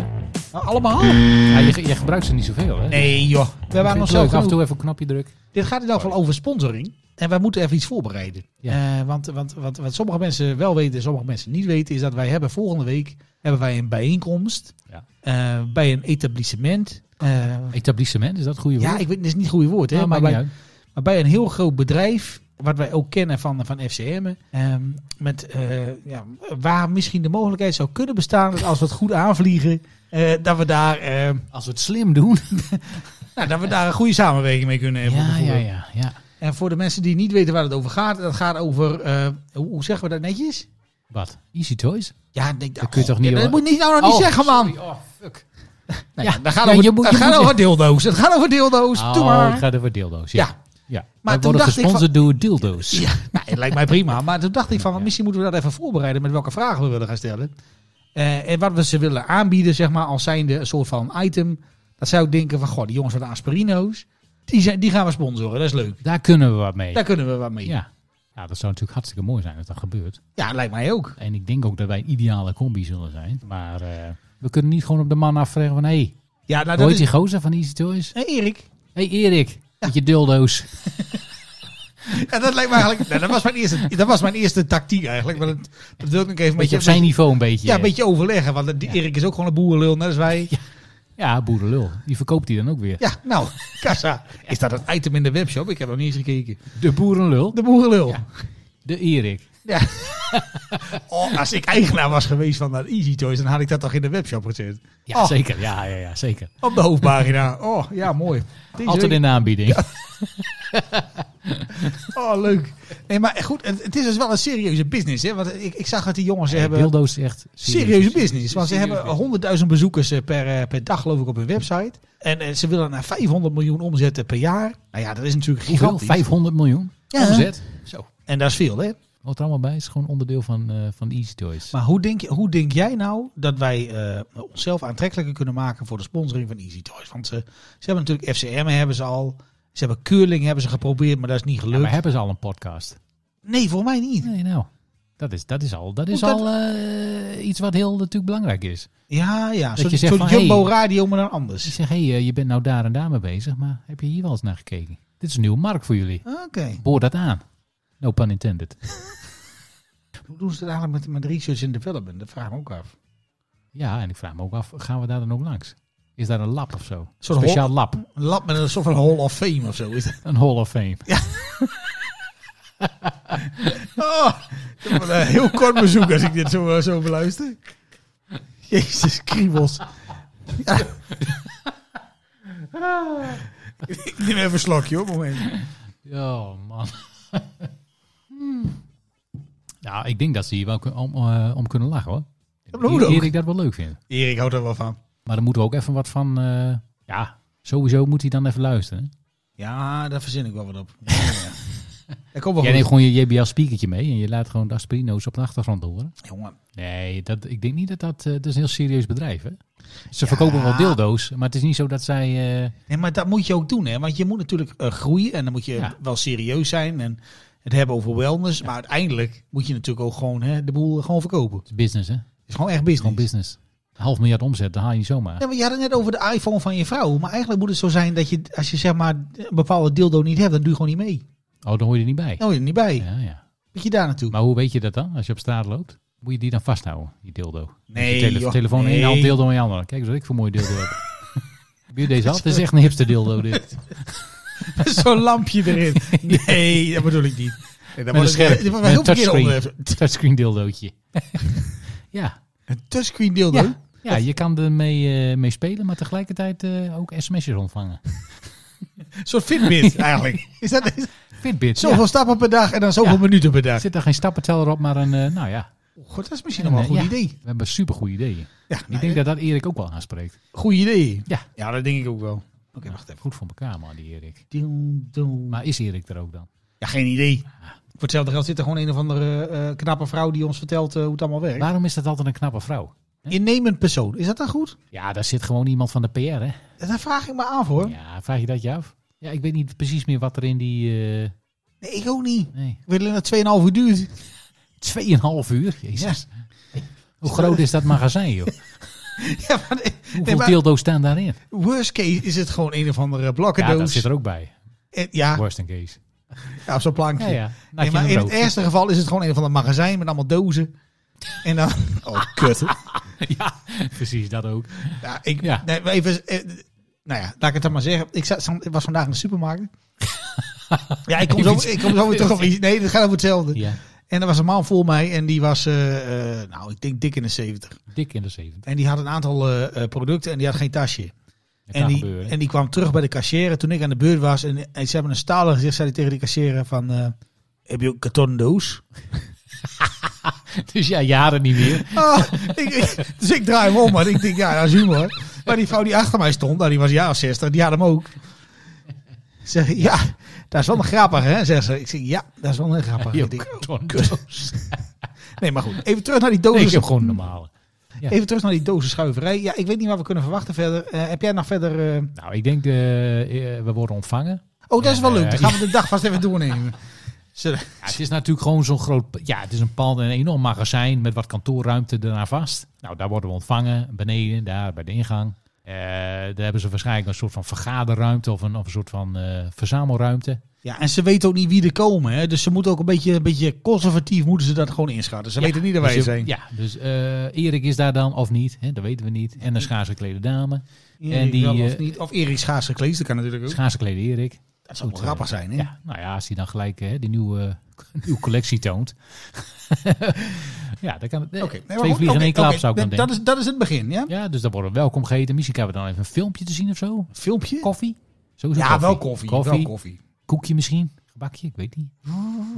Nou, allemaal? Ja, je, je gebruikt ze niet zoveel, hè? Nee joh. We Vind waren je nog het zo leuk? Af en genoeg. toe even een knopje druk. Dit gaat in elk geval over sponsoring. En wij moeten even iets voorbereiden. Ja. Eh, want want wat, wat sommige mensen wel weten en sommige mensen niet weten... is dat wij hebben volgende week hebben wij een bijeenkomst Ja. eh, bij een etablissement. Eh, Etablissement, is dat het goede woord? ja, ik weet, dit is niet het goede woord. Hè, Nou, maar maakt bij, niet uit. Maar bij een heel groot bedrijf, wat wij ook kennen van, van FCM, ehm, met, eh, ja, waar misschien de mogelijkheid zou kunnen bestaan dat als we het goed aanvliegen, eh, dat, we daar, eh, Als we het slim doen. nou, dat we daar een goede samenwerking mee kunnen hebben. Ja, ja, bijvoorbeeld. ja, ja. En voor de mensen die niet weten waar het over gaat, dat gaat over, eh, hoe, hoe zeggen we dat netjes? Wat? Easy Toys? Ja, ik denk, Dat kun je oh, toch niet, Dat hoor. moet je nou nog niet Oh, zeggen, man. sorry. Oh, fuck. Nee, Ja. dat gaat Ja, over, je moet- dat je gaat moet- over dildo's. Dat gaat over dildo's. Doe Oh, maar. ik ga er voor dildo's. Ja. ja. ja. Maar toen worden dacht ik gesponsord door dildo's. Ja, nou, het lijkt mij prima. Maar toen dacht ik van, misschien moeten we dat even voorbereiden met welke vragen we willen gaan stellen. Eh, en wat we ze willen aanbieden, zeg maar, als zijnde een soort van item. Dat zou ik denken van, goh, die jongens van de Aspirino's, die, zijn, die gaan we sponsoren. Dat is leuk. Daar kunnen we wat mee. Daar kunnen we wat mee. Ja, Ja. ja, dat zou natuurlijk hartstikke mooi zijn als dat gebeurt. lijkt mij ook. En ik denk ook dat wij een ideale combi zullen zijn. Maar eh, we kunnen niet gewoon op de man afvragen van... Hé, hey, Ja, nou, hoe dat heet is... die gozer van Easy Toys? Hé, Erik. Hé hey, Erik, met je dildo's. Ja, dat lijkt me (laughs) eigenlijk... nou, dat, was mijn eerste, dat was mijn eerste tactiek eigenlijk. Maar dat, dat wil ik nog even... Beetje op zijn niveau een beetje. Ja, een beetje overleggen. Want die Erik is ook gewoon een boerenlul, net als wij. Ja, boerenlul. Die verkoopt hij dan ook weer. Ja, nou, kassa. Is dat een item in de webshop? Ik heb nog niet eens gekeken. De boerenlul. De boerenlul. De Erik. Ja. (laughs) oh, als ik eigenaar was geweest van dat Easy Toys, dan had ik dat toch in de webshop gezet. Ja, Oh, zeker. Ja, ja, ja, zeker. Op de hoofdpagina. Oh, ja, mooi. Deze Altijd week- in de aanbieding. Oh, leuk. Nee, maar goed, het, het is dus wel een serieuze business, hè? Want ik, ik zag dat die jongens Hey, hebben. dildo's echt Serieuze business. Want ze Serieuze hebben 100.000 bezoekers eh, per, eh, per dag, geloof ik, op hun website. En eh, ze willen naar 500 miljoen omzetten per jaar. Nou ja, dat is natuurlijk Hoeveel? gigantisch. 500 miljoen Ja. omzet. Zo. En dat is veel, hè? Wat er allemaal bij is gewoon onderdeel van, eh, van Easy Toys. Maar hoe denk, je- hoe denk jij nou dat wij eh, onszelf aantrekkelijker kunnen maken voor de sponsoring van Easy Toys? Want ze, ze hebben natuurlijk FCM hebben ze al. Ze hebben curling hebben ze geprobeerd, maar dat is niet Ja, gelukt. maar hebben ze al een podcast? Nee, voor mij niet. Nee, nou. Dat is, dat is al, dat is Moet dat- al eh, iets wat heel natuurlijk belangrijk is. Ja, ja. Dat Zo'n je zegt zo'n van, Jumbo hey. Radio, maar dan Ik anders. zeg, hé, hey, eh, je bent nou daar en daar mee bezig, maar heb je hier wel eens naar gekeken? Dit is een nieuwe markt voor jullie. Oké. Boor dat aan. No pun intended. Hoe doen ze het eigenlijk met, met research and development? Dat vraag ik me ook af. Ja, en ik vraag me ook af, gaan we daar dan ook langs? Is daar een lab of zo? soort Een speciaal lab. Een lab met een soort van Hall of Fame of zo. Is dat? Een Hall of Fame. Oh, ik heb een eh, heel kort bezoek als ik dit zo, eh, zo beluister. Jezus, kriebels. Ja. ik neem even een slokje hoor, moment. Ja, man. (laughs) Nou, ik denk dat ze hier wel kun- om, eh, om kunnen lachen, hoor. Dat moet ook. Eer ik dat wel leuk vind. Erik houdt er wel van. Maar dan moeten we ook even wat van... eh, ja, sowieso moet hij dan even luisteren. Ja, daar verzin ik wel wat op. Ja, ja, ja. Dat komt wel Jij Oh, goed. neemt gewoon je JBL-speakertje mee en je laat gewoon de aspirino's op de achtergrond horen. Jongen. Nee, dat, ik denk niet dat dat... eh, dat is een heel serieus bedrijf, hè? Ze verkopen wel dildo's, maar het is niet zo dat zij... eh, Nee, maar dat moet je ook doen, hè? Want je moet natuurlijk eh, groeien en dan moet je Ja. wel serieus zijn en het hebben over wellness. Maar uiteindelijk moet je natuurlijk ook gewoon hè, de boel gewoon verkopen. Het het is business, hè? Het is gewoon echt is gewoon business. business. Een half miljard omzet, dat haal je niet zomaar. Ja, maar je had het net over de iPhone van je vrouw. Maar eigenlijk moet het zo zijn dat je, als je zeg maar een bepaalde dildo niet hebt, dan doe je gewoon niet mee. Oh, dan hoor je er niet bij. Dan hoor je er niet bij. Ja, ja. Moet je daar naartoe? Maar hoe weet je dat dan? Als je op straat loopt, moet je die dan vasthouden, die dildo. Nee, je tele joh, telefoon in nee. één hand, dildo in de andere. Kijk eens wat ik voor mooie dildo heb. Heb je deze al? Het is echt een hipster dildo dit. (laughs) Zo'n lampje (laughs) erin. Nee, dat bedoel ik niet. Nee, dat Met een was scherm. Een, Met een heel verkeerd (laughs) (laughs) touchscreen. onderwerp. Touchscreen dildootje. ja. Een touchscreen dildo. ja. Ja, je kan ermee eh, mee spelen, maar tegelijkertijd eh, ook sms'jes ontvangen. Een soort (laughs) Fitbit eigenlijk. Is dat is- Fitbit, zoveel ja. stappen per dag en dan zoveel Ja. minuten per Er dag? Oh, zit daar geen stappenteller op, maar een, eh, nou ja. God, dat is misschien nog wel een Eh, goed ja, idee. We hebben supergoede ideeën. Ja, nou, Ik denk dat dat Erik ook wel aanspreekt. Goed idee. Ja. ja, dat denk ik ook wel. Oké, wacht even. Goed voor elkaar, man, die Erik. Maar- Maar is Erik er ook dan? Ja, geen idee. Voor hetzelfde geld zit er gewoon een of andere eh, knappe vrouw die ons vertelt eh, hoe het allemaal werkt. Waarom is dat altijd een knappe vrouw? Innemend persoon, is dat dan goed? Ja, daar zit gewoon iemand van de PR, hè? Daar vraag ik me aan voor. Ja, vraag je dat je af? Ja, ik weet niet precies meer wat er in die... eh, Nee, ik ook niet. nee. Ik wil alleen dat 2,5 uur duurt. Tweeënhalf uur? Jezus. Hoe groot is dat magazijn, (laughs) joh? Ja, (laughs) maar nee, nee, Hoeveel maar dildo's staan daarin? worst case is het gewoon een of andere Ja, dat blokkendoos. zit er ook bij. En- ja, Worst in case. Ah. ja, op zo'n plankje. Ja, Nou, ja. Nee, Naakje maar en in het rood. ergste geval is het gewoon een van de magazijn met allemaal dozen. En (laughs) dan... Oh, kut. Ja, (laughs) precies, dat ook. Ja, ik, Ja. Nee, maar even, eh, nou ja, laat ik het dan maar zeggen. Ik, zat, ik was vandaag in de (laughs) supermarkt. ja, ik kom, zo, ik kom zo weer terug op iets. Nee, dat gaat over hetzelfde. Ja, En er was een man voor mij en die was, eh, eh, nou, ik denk dik in de 70. dik in de 70. En die had een aantal eh, eh, producten en die had geen tasje. Dat En kan die, gebeuren. en die kwam terug bij de kassière toen ik aan de beurt was. En, en ze hebben een stalen gezicht, zei hij tegen de kassière van... eh, heb je ook een kartonnen doos? (laughs) Dus ja, jaren niet meer. Ah, ik, ik- dus ik draai hem om, maar ik denk, ja, dat is humor. Maar die vrouw die achter mij stond, nou, die was een jaar of 60, die had hem ook. Zeg, ja, dat is wel een grappig, hè? Zegt ze. Ik zeg, ja, dat is wel een grappig. Ik denk, Tondo's. (laughs) nee, maar goed. Even terug naar die Nee, (laughs) ik dozen. heb gewoon normale. ja. Even terug naar die dozen schuiverij. Ja, ik weet niet wat we kunnen verwachten verder. Eh, heb jij nog verder... eh, Nou, ik denk, eh, eh, we worden ontvangen. Oh, dat is wel leuk. Dan Eh, gaan we de dag vast even doornemen. Zullen- Ja, het is natuurlijk gewoon zo'n groot... Ja, het is een pand, een enorm magazijn met wat kantoorruimte eraan vast. Nou, daar worden we ontvangen, beneden, daar bij de ingang. Eh, daar hebben ze waarschijnlijk een soort van vergaderruimte of een, of een soort van eh, verzamelruimte. Ja, en ze weten ook niet wie er komen. Hè? Dus ze moeten ook een beetje, een beetje conservatief moeten ze dat gewoon inschatten. Ze Ja, weten niet dat wij dus er je- zijn. Ja, dus eh, Erik is daar dan of niet, hè, dat weten we niet. Hm. En een schaars geklede dame, Erik en die, wel of, eh, niet. of Erik Schaars gekleed, dat kan natuurlijk ook. schaars geklede Erik. Dat zou wel Goed, eh, grappig zijn, hè? Ja, nou ja, als hij dan gelijk eh, die nieuwe, nieuwe collectie toont. (laughs) ja, dan kan het. eh, Oké, nee, maar twee goed, vliegen in oké, één klap oké, zou ik dan dat- denken. Dat is, dat is het begin, ja? Ja, dus dan worden we welkom geheten. Misschien hebben we dan even een filmpje te zien of zo. Filmpje? Koffie? Sowieso ja, koffie. wel koffie. Wel koffie. Koekje misschien? Gebakje? Ik weet niet.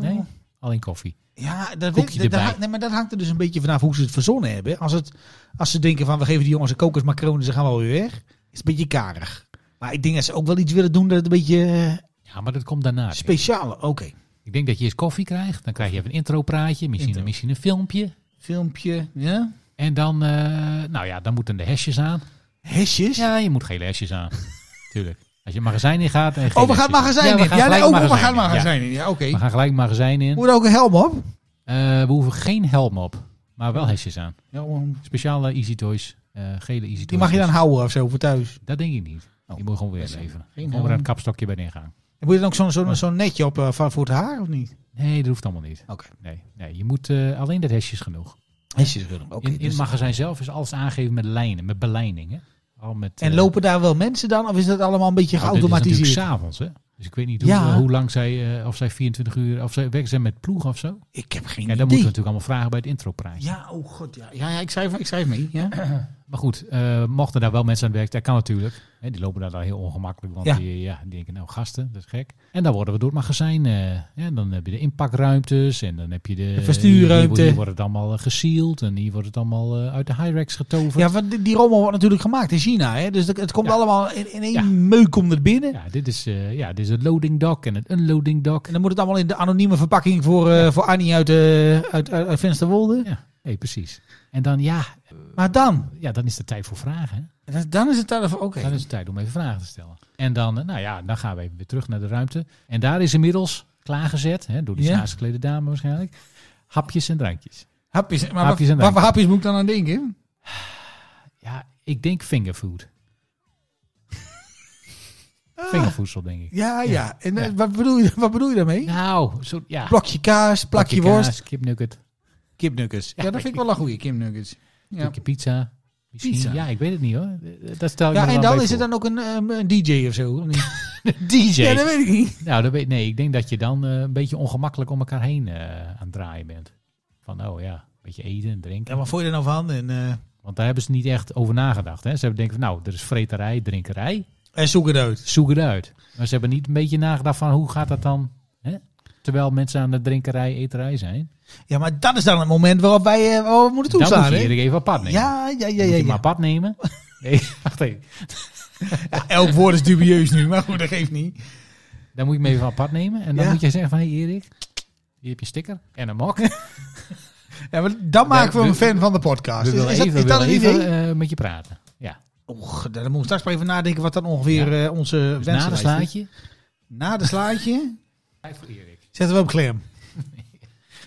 Nee? Alleen koffie. Ja, dat, Koekje weet, dat, erbij. hangt- nee, maar dat hangt er dus een beetje vanaf hoe ze het verzonnen hebben. Als, het, als ze denken van we geven die jongens een kokosmacaroni, ze gaan wel weer weg. Is het een beetje karig. Maar ik denk dat ze ook wel iets willen doen dat het een beetje eh, Ja, maar dat komt daarna. denk ik. speciaal. Oké. Ik denk dat je eerst koffie krijgt. Dan krijg je even een intropraatje. Misschien, Intro. misschien een filmpje. Filmpje, ja? En dan, eh, nou ja, dan moeten de hesjes aan. Hesjes? Ja, je moet geen hesjes aan. (laughs) Tuurlijk. Als je het magazijn in gaat. En Oh, we gaan het magazijn in. Ja, nee, ook, we gaan het magazijn in. Ja, oké. We gaan gelijk het magazijn in. Moet er ook een helm op? Eh, we hoeven geen helm op. Maar wel hesjes aan. Ja, Speciale Easy Toys. eh, gele Easy Toys. die mag je dan houden of zo voor thuis. Dat denk ik niet. die moet je gewoon weer leveren. Gewoon weer helm. aan het kapstokje bij ingaan. En moet je dan ook zo'n zo'n zo'n netje op eh, van voor het haar of niet? Nee, dat hoeft allemaal niet. Oké. Nee, nee je moet eh, alleen dat hesje is genoeg. Hesjes willen. Oké. in in het dus- magazijn zelf is alles aangegeven met lijnen, met belijningen. Al met, En eh, lopen daar wel mensen dan? Of is dat allemaal een beetje nou, dit is natuurlijk geautomatiseerd? s'avonds, hè? Dus ik weet niet hoe, Ja. hoe lang zij, eh, of zij 24 uur, of zij werken zijn met ploeg of zo. Ja, dan Ik heb geen moeten we idee. natuurlijk allemaal vragen bij het intropraatje. ja, oh god. Ja, ja, ja ik, schrijf, ik schrijf mee. Ja. Maar goed, eh, mochten daar wel mensen aan het werk, dat kan natuurlijk. Hè, die lopen daar dan heel ongemakkelijk, want Ja. Die, ja, die denken, nou gasten, dat is gek. En dan worden we door het magazijn. eh, ja, dan heb je de inpakruimtes en dan heb je de... De verstuurruimte. Hier, hier wordt het allemaal eh, gesealed en hier wordt het allemaal eh, uit de Hyrex getoverd. (laughs) ja, want die, die rommel wordt natuurlijk gemaakt in China. Hè? Dus dat- het komt Ja. allemaal in, in één Ja. meuk komt het binnen. Ja, dit is, eh, ja, dit is het loading dock en het unloading dock. En dan moet het allemaal in de anonieme verpakking voor, eh, voor Annie uit, eh uit, uit, uit Vensterwolde. Ja, nee, precies. En dan, ja, Maar dan, ja, dan is het tijd voor vragen. Hè? dan is het daar oké. Dan is het tijd om even vragen te stellen. En dan, eh, nou ja, dan gaan we even weer terug naar de ruimte. En daar is inmiddels klaargezet, hè, door die Ja. schaarseklede dame waarschijnlijk, hapjes en drankjes. Hapjes, maar Hapjes en wat, wat drankjes. voor hapjes moet ik dan aan denken? Ja, ik denk fingerfood. Ah. Vingervoedsel, denk ik. Ja, ja. En eh, Ja. Wat, bedoel je, wat bedoel je daarmee? Nou, zo, ja. Blokje kaas, plakje Plakje worst, kaas, kipnugget, kipnuggets. Ja, dat vind ik wel een goede kipnuggets. Ja. stukje pizza. Misschien, Pizza. Ja, ik weet het niet hoor. Dat stel ik Ja, me en wel dan bij is het voor. dan ook een, ehm, een DJ of zo. of niet? (laughs) DJ. Ja, dat weet ik niet. Nou, dat weet, nee, ik denk dat je dan eh, een beetje ongemakkelijk om elkaar heen eh, aan het draaien bent. Van, oh ja, een beetje eten en drinken. Ja, maar voor je er nou van? En, eh, Want daar hebben ze niet echt over nagedacht. Hè? Ze hebben denken van nou, er is vreterij, drinkerij, En zoek het uit. zoek het uit. Maar ze hebben niet een beetje nagedacht van hoe gaat dat dan? Hè? Terwijl mensen aan de drinkerij, eterij zijn. Ja, maar dat is dan het moment waarop wij eh, waar we moeten Dan moet toeslaan. je hè? iedereen even apart nemen. Ja, ja, ja, ja. Dan moet je ja. hem apart (laughs) nemen. Nee, wacht even. Elk woord is dubieus nu, maar goed, dat geeft niet. Dan moet je hem even apart nemen. En dan Ja. moet je zeggen van, hé hey Erik, hier heb je sticker en een mok. We Ja, maar dan maken we we- hem fan van de podcast. Is, willen is dat, even, is we dat een willen idee? even eh, met je praten. Ja, Och, daar moeten we straks maar even nadenken wat dan ongeveer eh, onze dus wensen na een zijn. slaatje. Na de slaatje Tijd voor Erik. zetten we op klem.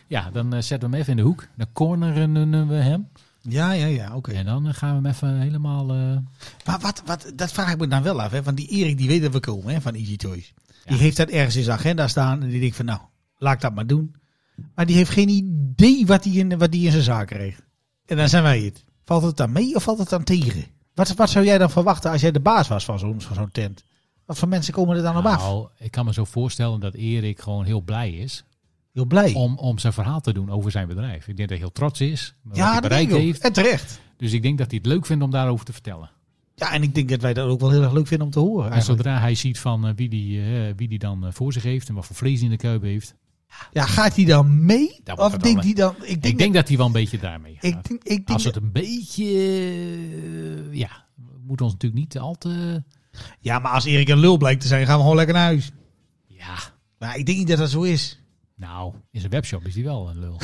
Ja, dan eh, zetten we hem even in de hoek. Dan corneren we hem. Ja, ja, ja, oké. En dan eh, gaan we hem even helemaal... eh, Maar wat, wat, dat vraag ik me dan wel af. Hè? Want die Erik, die weet dat we komen hè, van Easy Toys. Die heeft dat ergens in zijn agenda staan. En die denkt van, nou, laat ik dat maar doen. Maar die heeft geen idee wat hij in, wat die in zijn zaak kreeg. En dan zijn wij het. Valt het dan mee of valt het dan tegen? Wat, wat zou jij dan verwachten als jij de baas was van zo'n van zo'n tent? Wat voor mensen komen er dan op af? nou, ik kan me zo voorstellen dat Erik gewoon heel blij is Heel blij. om, om zijn verhaal te doen over zijn bedrijf. Ik denk dat hij heel trots is. met Wat ja, hij dat denk bereikt ik ook. heeft. En terecht. Dus ik denk dat hij het leuk vindt om daarover te vertellen. Ja, en ik denk dat wij dat ook wel heel erg leuk vinden om te horen. En eigenlijk. zodra hij ziet van eh, wie die, eh, wie die dan eh, voor zich heeft en wat voor vlees hij in de kuip heeft. Ja, gaat hij dan mee? Dat wordt of het denkt dan, hij dan... Ik denk, Ik denk dat hij wel een beetje daarmee gaat. ik denk, ik denk Als het een beetje... eh, ja, we moeten ons natuurlijk niet al te... Ja, maar als Erik een lul blijkt te zijn, gaan we gewoon lekker naar huis. Ja, Maar ik denk niet dat dat zo is. nou, in zijn webshop is hij wel een lul.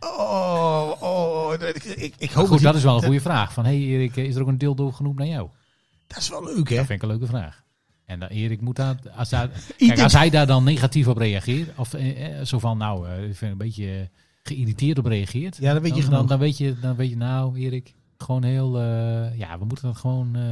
Oh, oh, ik, ik, ik hoop Goed, dat, dat is wel een goede vraag. Van, hey Erik, is er ook een dildo genoemd naar jou? dat is wel leuk, hè? Dat vind ik een leuke vraag. En dan, Erik moet daar, als, (laughs) daar, kijk, Ieder- als hij daar dan negatief op reageert, of eh, eh, zo van, nou, eh, ik vind een beetje eh, geïrriteerd op reageert, Ja, dat weet je dan, genoeg. dan, dan weet je, dan weet je, nou, Erik, gewoon heel, eh, ja, we moeten dat gewoon eh,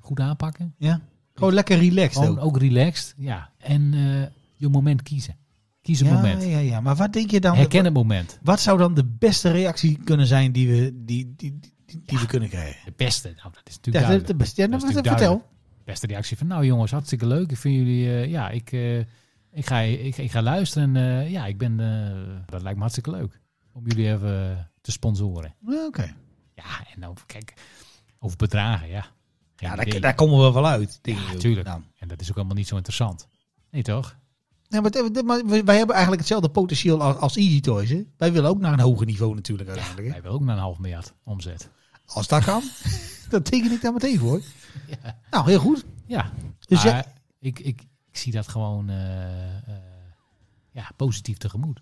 goed aanpakken. Ja. Gewoon lekker relaxed Gewoon ook. ook relaxed, ja. En eh, je moment kiezen. Kies een ja, moment. ja, ja. Maar wat denk je dan? Herken het moment. Wat zou dan de beste reactie kunnen zijn die we, die, die, die, die we kunnen krijgen? De beste, nou, dat is Ja, natuurlijk dat- duidelijk. dat best- ja, Dat is nou, natuurlijk vertel. beste reactie van, nou jongens, hartstikke leuk. Ik vind jullie, eh, ja, ik, eh, ik, ga, ik, ik ga luisteren. En eh, ja, ik ben, eh, dat lijkt me hartstikke leuk. Om jullie even eh, te sponsoren. Ja, Oké. Ja, en dan, kijk, over bedragen, ja. Geen Ja, daar, idee. daar komen we wel uit. Denk ik ja, ook. tuurlijk. Nou. En dat is ook helemaal niet zo interessant. Nee, toch? Ja, maar, het- maar we- wij hebben eigenlijk hetzelfde potentieel als, als Easy Toys. Hè? Wij willen ook naar een hoger niveau natuurlijk uiteindelijk. hè? Wij willen ook naar een half miljard omzet. Als (laughs) dat kan, dan teken ik daar meteen (laughs) voor. Nou, heel goed. Ja, Dus maar ja- ik, ik, ik zie dat gewoon eh, eh, ja, positief tegemoet.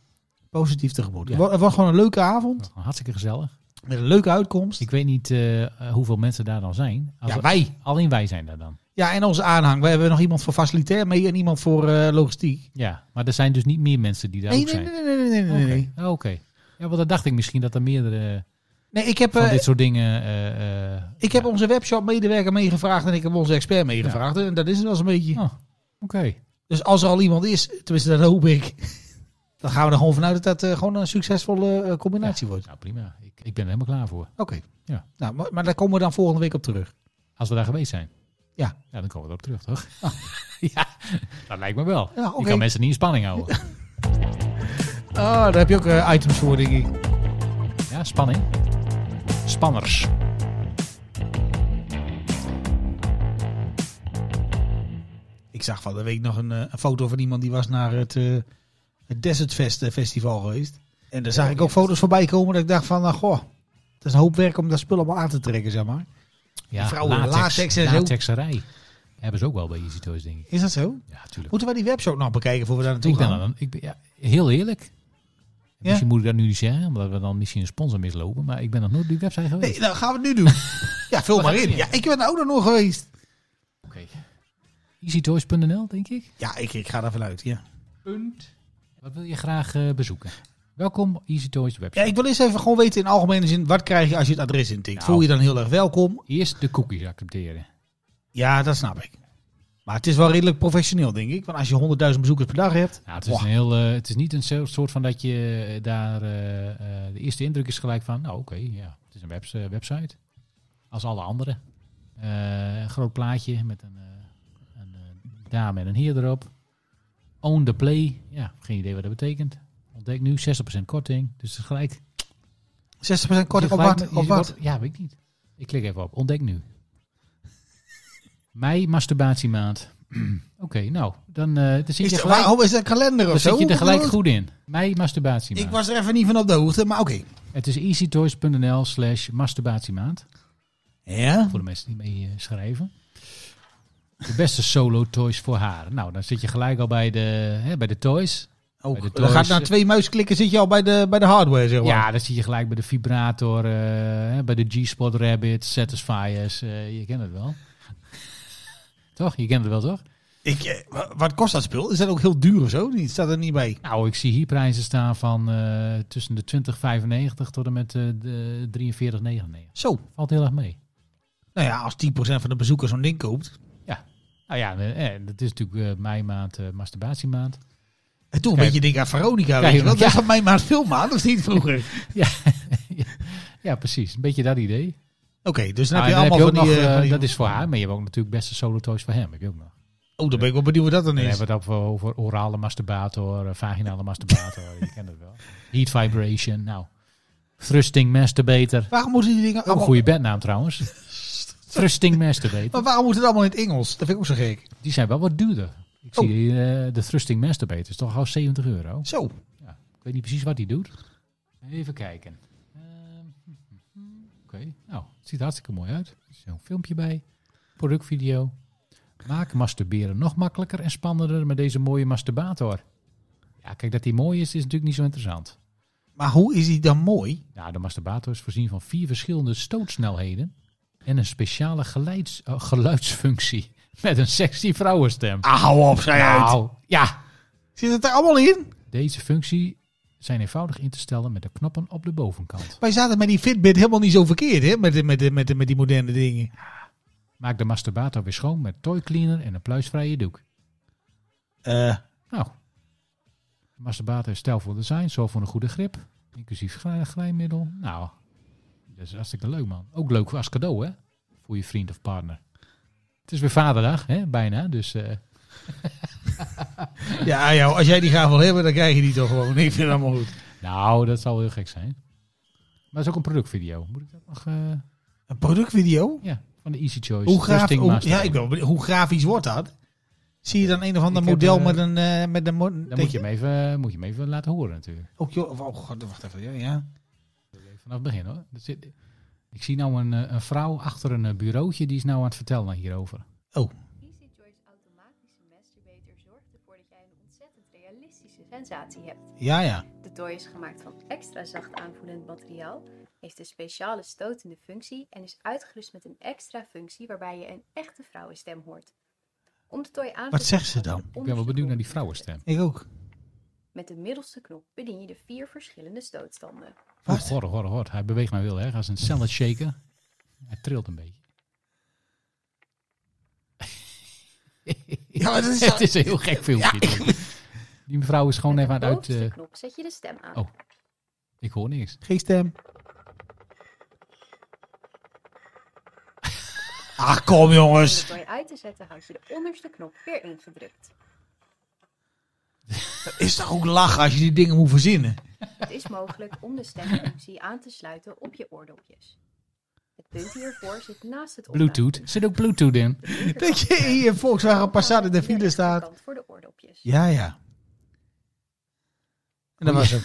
Positief tegemoet. Ja. Het wa- Het was gewoon een leuke avond. Hartstikke gezellig. Met een leuke uitkomst. Ik weet niet eh, hoeveel mensen daar dan zijn. Als Ja, er- wij. Alleen wij zijn daar dan. Ja, en onze aanhang. We hebben nog iemand voor facilitair mee en iemand voor eh, logistiek. Ja, maar er zijn dus niet meer mensen die daar Nee, ook nee, zijn. nee, nee, nee, nee, nee. Oké. nee. Oh, Oké. Ja, want dan dacht ik misschien dat er meerdere Nee, ik heb, van eh, dit soort dingen... eh, eh, ik heb ja. onze webshop-medewerker meegevraagd en ik heb onze expert meegevraagd. En dat is het wel eens een beetje. Oh. Oké. Dus als er al iemand is, tenminste dat hoop ik, (laughs) dan gaan we er gewoon vanuit dat dat eh, gewoon een succesvolle eh, combinatie wordt. Nou, prima. Ik, ik ben er helemaal klaar voor. Oké. Ja. Nou, maar, maar daar komen we dan volgende week op terug. Als we daar geweest zijn. Ja. Ja, dan komen we erop terug, toch? (laughs) ja, dat lijkt me wel. Ja, Je oké. kan mensen niet in spanning houden. Ah, daar heb je ook eh, items voor, denk ik. Ja, spanning. Spanners. Ik zag van de week nog een, eh, een foto van iemand die was naar het, eh, het Desert Fest eh, festival geweest. En daar zag ik ook foto's voorbij komen dat ik dacht van, nou, goh, het is een hoop werk om dat spul allemaal aan te trekken, zeg maar. Ja, vrouwen, latex en zo. Latexerij. Hebben ze ook wel bij Easy Toys, denk ik. Is dat zo? Ja, tuurlijk. Moeten wij die webshop nog bekijken voor we daar naartoe Ik ben gaan? dan, ik ben, ja, heel eerlijk. Misschien moet ik dat nu niet zeggen, omdat we dan misschien een sponsor mislopen. Maar ik ben nog nooit op die website geweest. Nee, nou gaan we het nu doen. ja, vul maar in. Ja, ik ben er ook nog nooit geweest. Oké. EasyToys.nl, denk ik. Ja, ik, ik ga daar vanuit, ja. Wat wil je graag eh, bezoeken? Welkom EasyToys Ja, website. ik wil eerst even gewoon weten in algemene zin, wat krijg je als je het adres intikt? Nou. Voel je dan heel erg welkom? Eerst de cookies accepteren. Ja, dat snap ik. Maar het is wel redelijk professioneel, denk ik. Want als je 100.000 bezoekers per dag hebt... Nou, het, is Wow. een heel, eh, het is niet een zo- soort van dat je eh, daar... eh, eh, de eerste indruk is gelijk van, nou oké, ja, het is een webs- eh, website. Als alle andere. Eh, een groot plaatje met een, eh, een eh, dame en een heer erop. Own the play. Ja, geen idee wat dat betekent. Ontdek nu 60% korting. Dus het is gelijk 60% korting op Gelijk wat? met- Op je wat? wordt- Ja, weet ik niet. Ik klik even op. Ontdek nu. (laughs) Mei masturbatiemaand. (clears throat) Oké, nou, dan, eh, dan zit Is je er, gelijk, waarom is er een kalender dan of zo? zit je er gelijk Hoe- goed in. Mei masturbatiemaand. Ik was er even niet van op de hoogte, maar oké. Het is easytoys.nl slash masturbatiemaand. Ja? Voor de mensen die mee eh, schrijven. De beste solo toys voor haar. Nou, dan zit je gelijk al bij de, hè, bij de toys. Oh, Bij de dan gaat toys. na twee muisklikken zit je al bij de, bij de hardware, zeg maar. Ja, dan zit je gelijk bij de vibrator, eh, hè, bij de G-Spot Rabbit, Satisfiers. eh, je kent het wel. toch? Je kent het wel, toch? Ik, eh, wa- wat kost dat spul? Is dat ook heel duur of zo? Die staat er niet bij. Nou, ik zie hier prijzen staan van eh, tussen de 20,95 tot en met eh, de 43,99. Zo. Valt heel erg mee. Nou ja, als 10% van de bezoekers zo'n ding koopt. Nou ja, eh, eh, dat is natuurlijk eh mei maand, eh, masturbatiemaand. En toen een Kijk. beetje denk aan Veronica, Kijk, weet je wel. ja. Dat is mij maar filmmaat, of niet vroeger? Oké, Ja, precies. Een beetje dat idee. dus dan Nou, heb en je allemaal van dan heb je ook die... nog, eh, eh, van die- dat is voor haar, maar je hebt ook natuurlijk beste solo toys voor hem. Heb je ook nog. Oh, dan ben ik wel benieuwd wat dat dan Dan is. hebben we het over, over orale masturbator, eh, vaginale masturbator. (laughs) je kent het wel. Heat vibration, nou. Thrusting masturbator. Waarom moeten die dingen Ook een allemaal... goede bednaam trouwens. Thrusting masturbator. Maar waarom moet het allemaal in het Engels? Dat vind ik ook zo gek. Die zijn wel wat duurder. Ik Oh. zie hier, eh, de Thrusting masturbator is toch al 70 euro. Zo. Ik weet niet precies wat die doet. Even kijken. Ehm, Oké, nou, het ziet er hartstikke mooi uit. Er is zo'n filmpje bij. Productvideo. Maak masturberen nog makkelijker en spannender met deze mooie masturbator. Ja, kijk, dat die mooi is, is natuurlijk niet zo interessant. Maar hoe is die dan mooi? Nou, de masturbator is voorzien van vier verschillende stootsnelheden en een speciale geluids- eh, geluidsfunctie (laughs) met een sexy vrouwenstem. Ah, hou op, zei Nou, ja. Zit het er allemaal in? Deze functie zijn eenvoudig in te stellen met de knoppen op de bovenkant. Wij zaten met die Fitbit helemaal niet zo verkeerd, hè? Met, de- met, de- met, de- met die moderne dingen. Maak de masturbator weer schoon met toy cleaner en een pluisvrije doek. Eh, Nou, de masturbator is stijlvol design, zo voor een goede grip, inclusief glij- glijmiddel. Nou, dat is hartstikke leuk man. Ook leuk als cadeau hè, voor je vriend of partner. Het is weer vaderdag hè, bijna, dus eh, ja, ja, als jij die graag wil hebben, dan krijg je die toch gewoon. Ik vind het allemaal goed. nou, dat zal heel gek zijn. Maar het is ook een productvideo. Moet ik dat nog? eh, Een productvideo? ja, van de Easy Choice. Hoe, graaf, Thrusting hoe, Master. ja, ik ben wel benieuwd, hoe grafisch wordt dat? Zie je dan een of ander Ik heb, model eh, met een... eh, met een mo- Dan moet je, hem even, moet je hem even laten horen natuurlijk. Oh, joh, oh, god, wacht even. Ja, ja. Vanaf het begin hoor. Er zit- ik zie nou een, eh, een vrouw achter een eh, bureautje, die is nou aan het vertellen hierover. Easy Choice automatische masturbator zorgt ervoor dat jij een ontzettend realistische sensatie hebt. Ja, ja. De toy is gemaakt van extra zacht aanvoelend materiaal, heeft een speciale stotende functie en is uitgerust met een extra functie waarbij je een echte vrouwenstem hoort. Om de toy aan te Wat zegt ze passen, dan? wordt Ik ben wel onderzoek benieuwd naar die onderzocht. vrouwenstem. Ik ook. Met de middelste knop bedien je de vier verschillende stootstanden. Wat? Oeh, Hoor, hoor, hoor. Hij beweegt mij wel erg als een salad shaker. Hij trilt een beetje. (laughs) Ja, maar dat is... (laughs) Het is een heel gek filmpje. dit. Die mevrouw is gewoon Met even aan de het uit... Oh. bovenste eh, knop zet je de stem aan. Oh. ik hoor niks. Geen stem. Ach, Ah, kom Om de jongens. toy uit te zetten houd je de onderste knop weer ingedrukt. Dat is toch ook lachen als je die dingen moet verzinnen? Het is mogelijk om de stemfunctie aan te sluiten op je oordopjes. Het punt hiervoor zit naast het Bluetooth. Er zit ook bluetooth in. Dat je in je Volkswagen Passat in de file staat. Kant voor de oordopjes. Ja, ja. En dat was hem.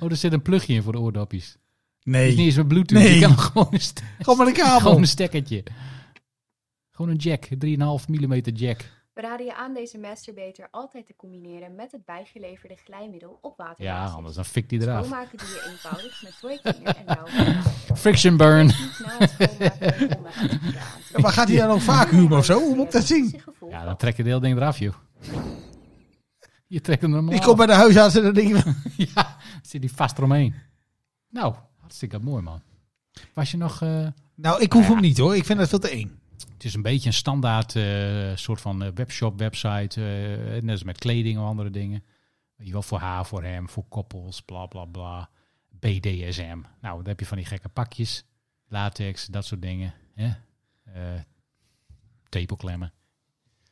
Oh, er zit een plugje in voor de oordopjes. Het is (laughs) niet Nee. eens met bluetooth. Nee. Je kan gewoon een, ste- Gewoon met een gewoon kabel. een stekkertje. Gewoon een jack. 3,5 mm jack. We raden je aan deze masturbator altijd te combineren met het bijgeleverde glijmiddel op water. Ja, anders dan fikt die eraf. Schoonmaken doe je eenvoudig met toycleaner en nauw. (laughs) Friction burn. Na het schoonmaken weer onderuit de kraan te doen. Maar gaat hij dan ook (laughs) vacuüm of zo? Hoe moet ik dat zien? Zich gevoel Ja, dan trek je het hele ding eraf, joh. Je trekt hem normaal. Ik kom bij de huisarts en dan denk ik... (laughs) (laughs) Ja, zit die vast eromheen. Nou, hartstikke mooi, man. Was je nog... eh, Nou, ik hoef hem niet hoor. Ik vind dat veel te eng. het is een beetje een standaard eh, soort van eh, webshop, website. eh, net als met kleding of andere dingen. Weet je wel, voor haar, voor hem, voor koppels, bla bla bla. BDSM. Nou, dan heb je van die gekke pakjes. Latex, dat soort dingen. Hè? Eh, tepelklemmen.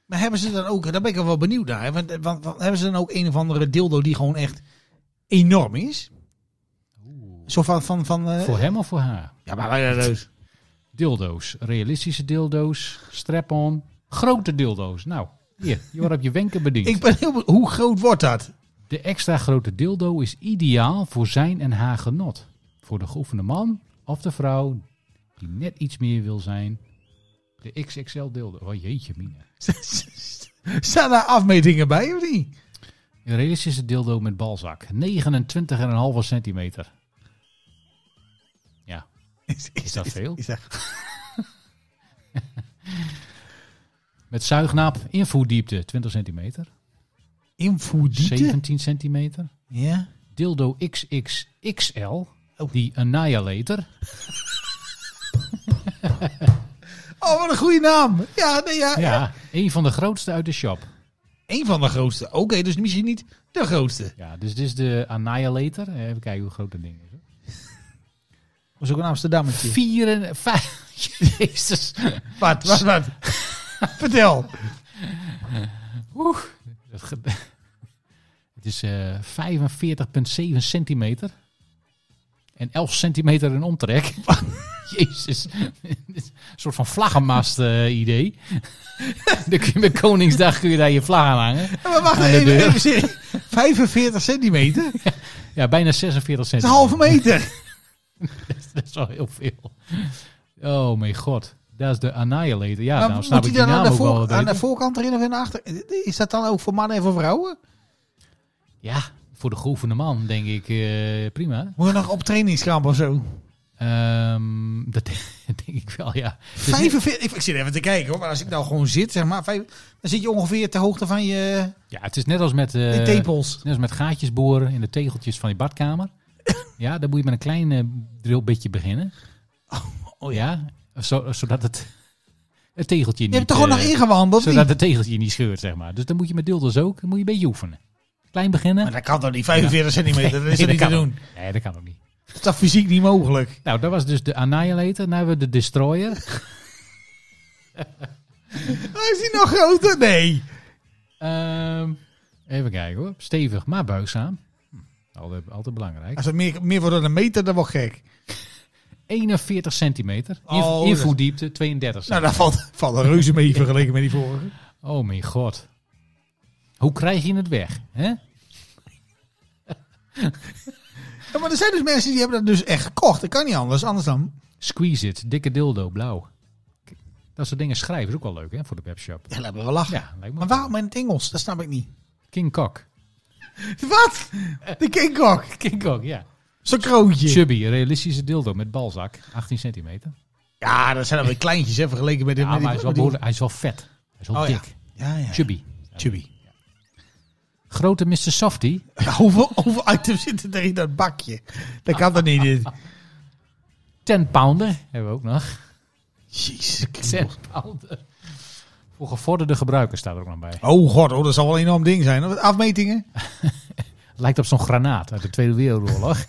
Maar hebben ze dan ook, daar ben ik wel benieuwd naar, hè, want, want, want hebben ze dan ook een of andere dildo die gewoon echt enorm is? Oeh. Zo van... van, van eh, Voor hem of voor haar? ja, maar wij dus. Dildo's. Realistische dildo's. Strap-on. Grote dildo's. Nou, hier. Je wordt op je wenken bediend. (laughs) Ik ben heel be- Hoe groot wordt dat? (laughs) De extra grote dildo is ideaal voor zijn en haar genot. Voor de geoefende man of de vrouw die net iets meer wil zijn. De XXL dildo. Oh jeetje mina. Staan daar afmetingen bij of niet? Een realistische dildo met balzak. 29,5 centimeter. Ja, Is, is dat veel? is dat- Met zuignaap invoerdiepte 20 centimeter. Invoerdiepte? 17 centimeter. Ja. Dildo XXXL. Die Annihilator. Oh, wat een goede naam. Ja, nee, ja. (laughs) Ja, een van de grootste uit de shop. Eén van de grootste. Oké, dus misschien niet de grootste. Ja, dus dit is de Annihilator. Eh, Even kijken hoe groot dat ding is. hoor. Was ook een Amsterdammetje. Vier en vijf. (laughs) Jezus. Wat, wat, wat? (laughs) Vertel. Dat ge- (laughs) Het is eh 45,7 centimeter. En 11 centimeter in omtrek. (laughs) Jezus. Een soort van vlaggenmast eh, idee. (laughs) Dan kun je met Koningsdag kun je daar je vlag aan hangen. Maar wacht Aan de even, deur. even serieus. (laughs) 45 centimeter? Dat (laughs) Ja, bijna 46 is een centimeter. halve meter. Dat is al heel veel. Oh mijn god. Dat is de Annihilator. Ja, Maar nou snap moet ik die die dan naam aan de, ook wel voor- wat aan de beter. voorkant erin of in de achter? Is dat dan ook voor mannen en voor vrouwen? Ja, voor de geoefende man denk ik eh, prima. Moet je nog op trainingskamp of zo? Dus Ehm, dat (laughs) denk ik wel, ja. Het is niet- 45, ik, ik zit even te kijken hoor, maar als ik nou gewoon zit, zeg maar, vijf- dan zit je ongeveer ter hoogte van je Ja, het is net als met, eh, die tepels. net als met gaatjes boren in de tegeltjes van je (laughs) badkamer. ja, dan moet je met een klein eh, drillbitje beginnen. oh ja. Zo, zodat het, het tegeltje niet... Je hebt er gewoon eh, nog ingewandeld. Zodat niet? het tegeltje niet scheurt, zeg maar. Dus dan moet je met dildos ook, dan moet je een beetje oefenen. Klein beginnen. Maar dat kan toch niet, 45 centimeter, dat is er Nee, niet te kan doen. ook. Nee, dat kan ook niet. Dat is toch fysiek niet mogelijk? Nou, dat was dus de Annihilator. Nu hebben we de Destroyer. Oh, is die nog groter? Nee. Ehm, even kijken hoor. Stevig, maar buigzaam. Hm, altijd, altijd belangrijk. Als het meer, meer wordt dan een meter, dan wordt gek. 41 centimeter. Inv- Oh, dat- Invoerdiepte 32 Nou, centimeter. daar valt, valt een reuze mee vergeleken met die vorige. Oh mijn god. Hoe krijg je het weg? Hè? Ja, maar er zijn dus mensen die hebben dat dus echt gekocht. Dat kan niet anders. Anders dan... Squeeze it, dikke dildo, blauw. K- Dat soort dingen schrijven is ook wel leuk hè, voor de webshop. Ja, laten we wel lachen. Ja, lijkt me Maar wel. waarom in het Engels? Dat snap ik niet. King Cock. Wat? De King Kok. (laughs) King Cock, ja. Zo'n kroontje. Chubby, realistische dildo met balzak. 18 centimeter. Ja, dat zijn dan weer kleintjes, hè, vergeleken met de... Ja, maar met die- hij is wel, met die- behoorlijk- hij is wel vet. Hij is wel Oh, ja. dik. Ja, ja. Chubby. Chubby. Grote Mr. Softie. Ja, (laughs) hoeveel, hoeveel items zitten er in dat bakje? Dat kan toch niet? dit? 10 pounder hebben we ook nog. (laughs) Jezus. 10 pounder. Voor gevorderde gebruikers staat er ook nog bij. Oh god, oh, dat zal wel een enorm ding zijn. Wat Afmetingen? Het lijkt op zo'n granaat uit de Tweede Wereldoorlog. (laughs)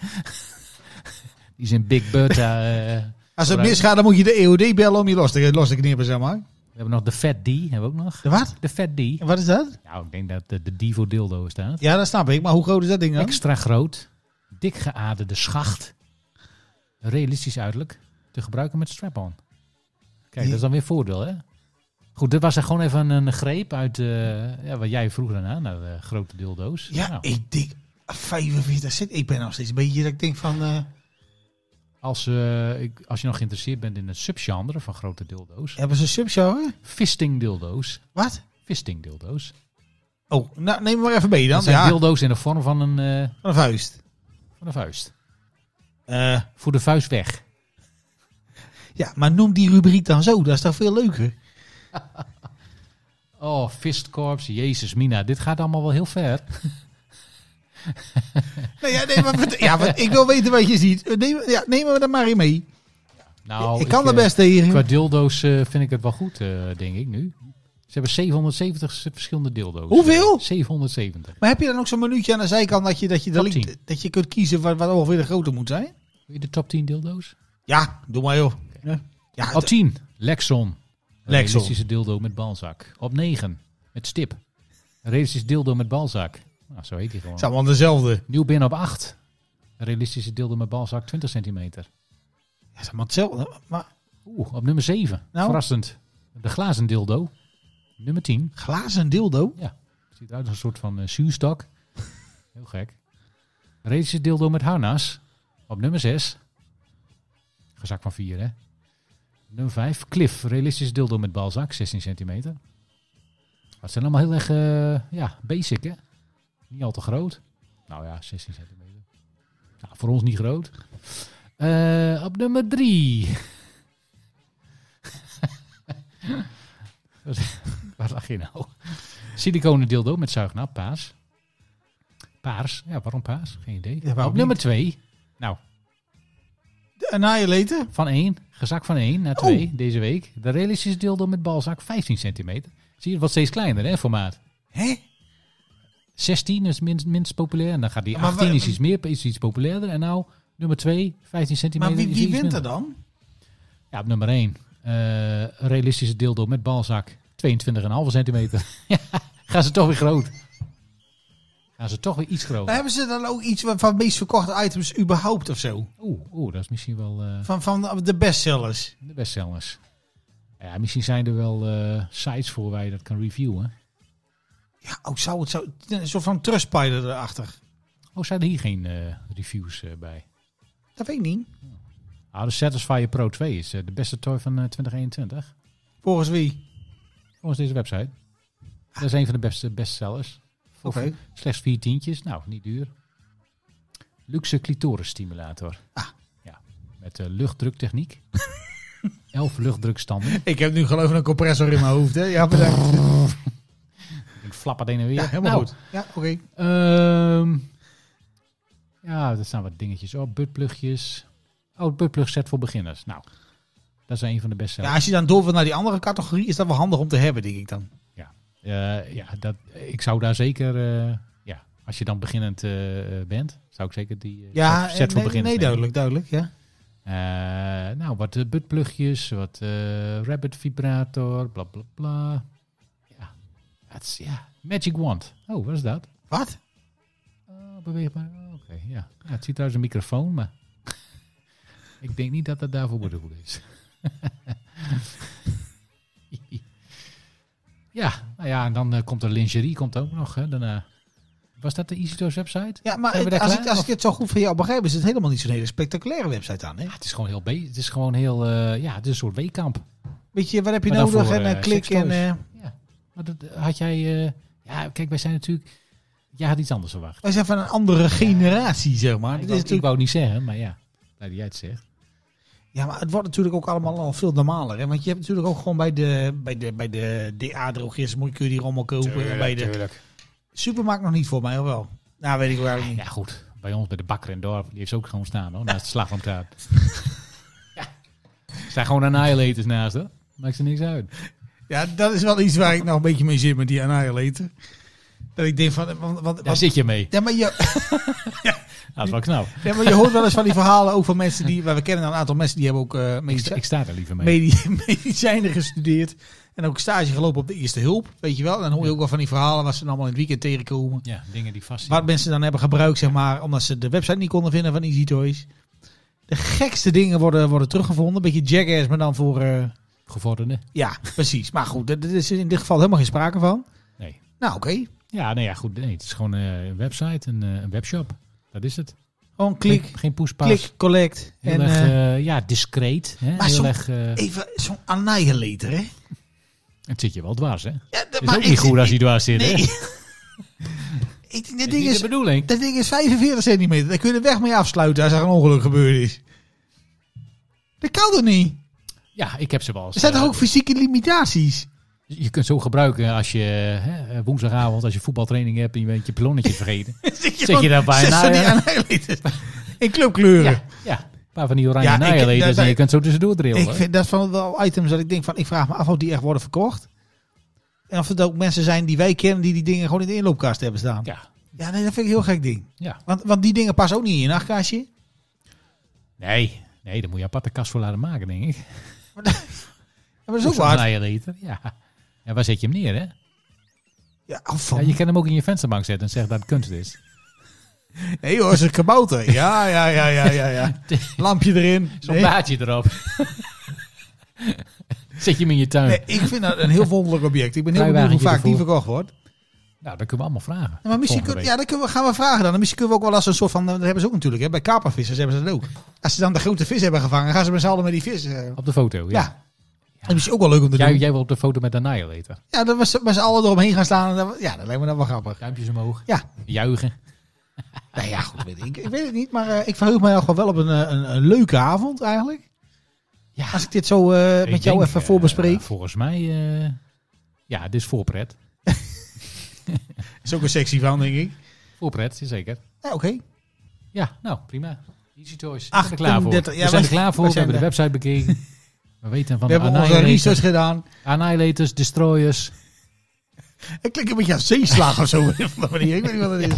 Die zijn Big Bertha. eh, Als het Gebruik. misgaat, dan moet je de EOD bellen om je los te, los te knippen, zeg maar. we hebben nog de Fat D, hebben we ook nog. De wat? De Fat D. Wat is dat? Nou, ik denk dat de, de D voor dildo staat. Ja, dat snap ik. Maar hoe groot is dat ding dan? Extra groot. Dik geaderde schacht. Realistisch uiterlijk. Te gebruiken met strap-on. Kijk, dat is dan weer voordeel, hè? Goed, dit was er gewoon even een greep uit eh, ja, wat jij vroeg daarna, naar de grote dildo's. Ja, Nou, ik denk 45 cent. Ik ben nog steeds een beetje dat ik denk van... eh, als, eh, ik, als je nog geïnteresseerd bent in het subgenre van grote dildo's, hebben ze een subgenre? fisting dildo's. Wat? Fisting dildo's. Oh, nou, neem maar even mee dan. Dat zijn Ja, dildo's in de vorm van een, eh, van een vuist. van een vuist. Eh, Voor de vuist weg. ja, maar noem die rubriek dan zo. Dat is toch veel leuker? Oh, fistkorps. Jezus, Mina. Dit gaat allemaal wel heel ver. Nee, ja, nee, maar, vert- ja, want ik wil weten wat je ziet. Eh, Neem, ja, nemen we er maar in mee. Nou, Oh, ik kan eh, er best tegen. Qua dildo's eh, vind ik het wel goed, eh, denk ik nu. Ze hebben 770 s- verschillende dildo's. Hoeveel? 770. Maar heb je dan ook zo'n minuutje aan de zijkant dat je, dat je, de Top link- 10. dat je kunt kiezen wat, wat ongeveer de grootte moet zijn? Wil je de top 10 dildo's? Ja, doe maar joh. Ja, ja Op 10, Lexon. Een Lexon. Realistische dildo met balzak. Op 9, met stip. Een Realistisch dildo met balzak. Nou, zo heet hij het gewoon. is allemaal dezelfde. Nieuw binnen op 8. Realistische deelde mijn balzak 20 centimeter. Ja, dat is maar hetzelfde. Maar Oeh, op nummer 7. Nou? Verrassend. De glazen dildo. Nummer 10. glazen dildo? Ziet eruit als een soort van eh, zuurstok. (laughs) Heel gek. Realistische dildo met harnas. Op nummer 6. Gezak van 4, hè. Nummer 5. Cliff. Realistische dildo met balzak. 16 centimeter. Maar het zijn allemaal heel erg eh, ja, basic, hè. Niet al te groot. Nou ja, 16 centimeter. Nou, voor ons niet groot. Eh, op nummer (laughs) 3. Waar lag je nou? Siliconen dildo met zuignap, paars. Paars? Ja, waarom paars? Geen idee. Ja, waarom op nummer 2. Nou, De Annihilator? van 1, gezakt van 1 Oh. naar 2 deze week. De realistische dildo met balzak 15 centimeter. Zie je, het wordt steeds kleiner hè, formaat. Hè? 16 is minst, minst populair en dan gaat die Maar 18 is wa- iets meer, is iets populairder. En nou, nummer 2, 15 centimeter. Maar wie, is wie iets wint er minder. dan? Ja, op nummer 1. realistische dildo met balzak 22,5 centimeter. (laughs) Ja, gaan ze toch weer groot. Gaan ze toch weer iets Maar groter. hebben ze dan ook iets van, van meest verkochte items überhaupt of zo? Oeh, oeh, dat is misschien wel... eh, Van, van de bestsellers? De bestsellers. Ja, misschien zijn er wel eh, sites voor waar je dat kan reviewen. Ja, oh, zou het zo... Een soort van Trustpilot erachter. Oh, zijn er hier geen eh, reviews eh, bij? Dat weet ik niet. Ah, de Satisfyer Pro 2 is eh, de beste toy van eh, 2021. Volgens wie? Volgens deze website. Dat is een van de beste bestsellers. Voor Oké. Slechts vier tientjes. Nou, niet duur. Luxe clitorisstimulator. Ah. Ja, met eh, (laughs) luchtdruktechniek. Elf luchtdrukstanden. Ik heb nu geloof ik een compressor in mijn hoofd. Hè? Ja, bedankt. Ik flap het heen en weer. Ja, helemaal Nou, goed. Ja, oké. Ehm ja, er staan wat dingetjes op. Buttplugjes. Oh, buttplug set voor beginners. Nou, dat is een van de beste. Ja, als je dan door wil naar die andere categorie, is dat wel handig om te hebben, denk ik dan. Eh, ja, dat, ik zou daar zeker... eh, ja, als je dan beginnend eh, eh, bent, zou ik zeker die eh, Ja, set, set voor nee, beginners nee, nemen. duidelijk, duidelijk. Ja. Eh, nou, wat eh, buttplugjes, wat eh, rabbit vibrator, bla bla bla. Ja, dat is, ja. Magic wand. Oh, wat is dat? Wat? Oh, beweegbaar. Oh, Oké, ja. ja. Het ziet uit als een microfoon, maar (laughs) ik denk niet dat dat daarvoor dus. bedoeld is. (laughs) ja, nou ja, en dan eh, komt er lingerie komt ook nog. Hè, daarna. Was dat de EasyToys website? Ja, maar Zijn we het- daar als, klaar? ik, als ik het zo goed van jou begrijp, is het helemaal niet zo'n hele spectaculaire website aan. Hè? Ja, het is gewoon heel... be- Het is gewoon heel... eh, ja, het is een soort weekamp. Weet je, wat heb je Maar dan nodig? voor, en eh, eh, klik en... sextoys. eh, Ja. Maar dat, had jij... eh, ja, kijk, wij zijn natuurlijk... Jij had iets anders verwacht. wij zijn van een andere generatie, zeg maar. ik, Dit wou, is ik natuurlijk, wou niet zeggen, maar ja. Nou, die jij het zegt. ja, maar het wordt natuurlijk ook allemaal al veel normaler. Hè? Want je hebt natuurlijk ook gewoon bij de, bij de, bij de DA-drogist, moet je kun je die rommel kopen. en bij de supermarkt nog niet voor mij, of wel? Nou, weet ik waar niet. Ja, goed. Bij ons, bij de bakker in het dorp, die heeft ze ook gewoon staan hoor, naast de (laughs) slagroomtaart. ja. Er staan gewoon annihilators naast hoor. Maakt ze niks uit. Ja, dat is wel iets waar ik nou een beetje mee zit met die annihilator. E Dat ik denk van... eh, Want, want, Daar want- zit je mee. ja, maar je, Dat is wel knap. Ja, maar je hoort wel eens van die verhalen ook van mensen die... Maar we kennen nou een aantal mensen die hebben ook eh Ik sta, medici- ik sta daar liever mee. medi- (laughs) medicijnen gestudeerd. En ook stage gelopen op de eerste hulp, weet je wel. En dan hoor je ook wel van die verhalen wat ze dan allemaal in het weekend tegenkomen. Ja, dingen die vast Wat zitten. mensen dan hebben gebruikt, zeg maar, omdat ze de website niet konden vinden van Easy Toys. De gekste dingen worden, worden teruggevonden. Beetje jackass, maar dan voor... eh, Gevorderde. ja, precies. Maar goed, er er is in dit geval helemaal geen sprake van. Nee. Nou, oké. Ja, nee, ja, goed. Nee, het is gewoon eh, een website, een, eh, een webshop. Dat is het. Gewoon klik, Geen, geen poespas. klik, collect. Heel en erg, eh, eh, ja, discreet. Hè? maar Heel som- erg, eh, even zo'n annihilator, hè? het zit je wel dwars, hè? Het Ja, d- is ook niet ik- goed als je dwars zit, hè? Nee. Dat Ik denk, dat is ding niet is, de bedoeling. dat ding is 45 centimeter. Daar kun je de weg mee afsluiten als er een ongeluk gebeurd is. Dat kan toch niet? Ja, ik heb ze wel eens. Er zijn eh, toch ook fysieke (laughs) limitaties? Je kunt het zo gebruiken als je hè, eh, woensdagavond, als je voetbaltraining hebt en je bent je (laughs) ballonnetje vergeten. Zit Zeg je daar bijna, zet zo die ja? annihilators In clubkleuren. ja, ja, een paar van die oranje Ja, ja, ik- dat- en je kunt zo tussendoor drillen. ik vind dat van wel items dat ik denk van, ik vraag me af of die echt worden verkocht. En of het ook mensen zijn die wij kennen die die dingen gewoon in de inloopkast hebben staan. Ja, Ja, nee, dat vind ik een heel gek ding. ja. Want, want die dingen passen ook niet in je nachtkastje. Nee, nee, daar moet je aparte kast voor laten maken, denk ik. Maar dat is ook (laughs) Zo'n waar. annihilator, ja. En waar zet je hem neer, hè? Ja, oh, van Ja, je kan hem ook in je vensterbank zetten en zeggen dat het kunst is. Nee hoor, ze kabouter. Ja, ja, ja, ja, ja, (laughs) ja. Lampje erin. Zo'n Nee, baardje (laughs) erop. Zet je hem in je tuin. nee, ik vind dat een heel wonderlijk object. Ik ben heel benieuwd hoe Kruiwagentje vaak die ervoor. verkocht wordt. Nou, dat kunnen we allemaal vragen. Ja, maar misschien Volgende kun- ja, dat kunnen we, gaan we vragen dan. En misschien kunnen we ook wel als een soort van... Dat hebben ze ook natuurlijk. Hè? Bij kapervissers hebben ze dat ook. Als ze dan de grote vis hebben gevangen, gaan ze met z'n allen met die vis. eh, week. Op de foto, Oh, ja. ja. Dat is misschien ook wel leuk om te Jij, doen. jij wil op de foto met de Annihilator. Ja, dat we met z'n allen eromheen gaan staan. En dan, ja, dat lijkt me dan wel grappig. Duimpjes omhoog. Ja. Juichen. Nou ja, goed. Weet ik, ik weet het niet, maar eh, ik verheug mij nog wel op een, eh, een, een leuke avond eigenlijk. Ja. Als ik dit zo eh, Ik met jou denk, even eh, voorbespreek. volgens mij... eh, ja, dit is voorpret. is ook een sexy van, denk ik. Voorpret, zeker. Ja, Oké. Ja, nou, prima. Easy Toys. We zijn er klaar voor. 38, ja, we zijn er wij- klaar voor. wij We zijn hebben de er. website bekeken. (laughs) We weten van We de hebben onze research Annihilators, gedaan. Annihilators, Destroyers. Het klinkt een beetje als zeeslag of zo. (laughs) op een of andere manier. Ik weet niet wat het is.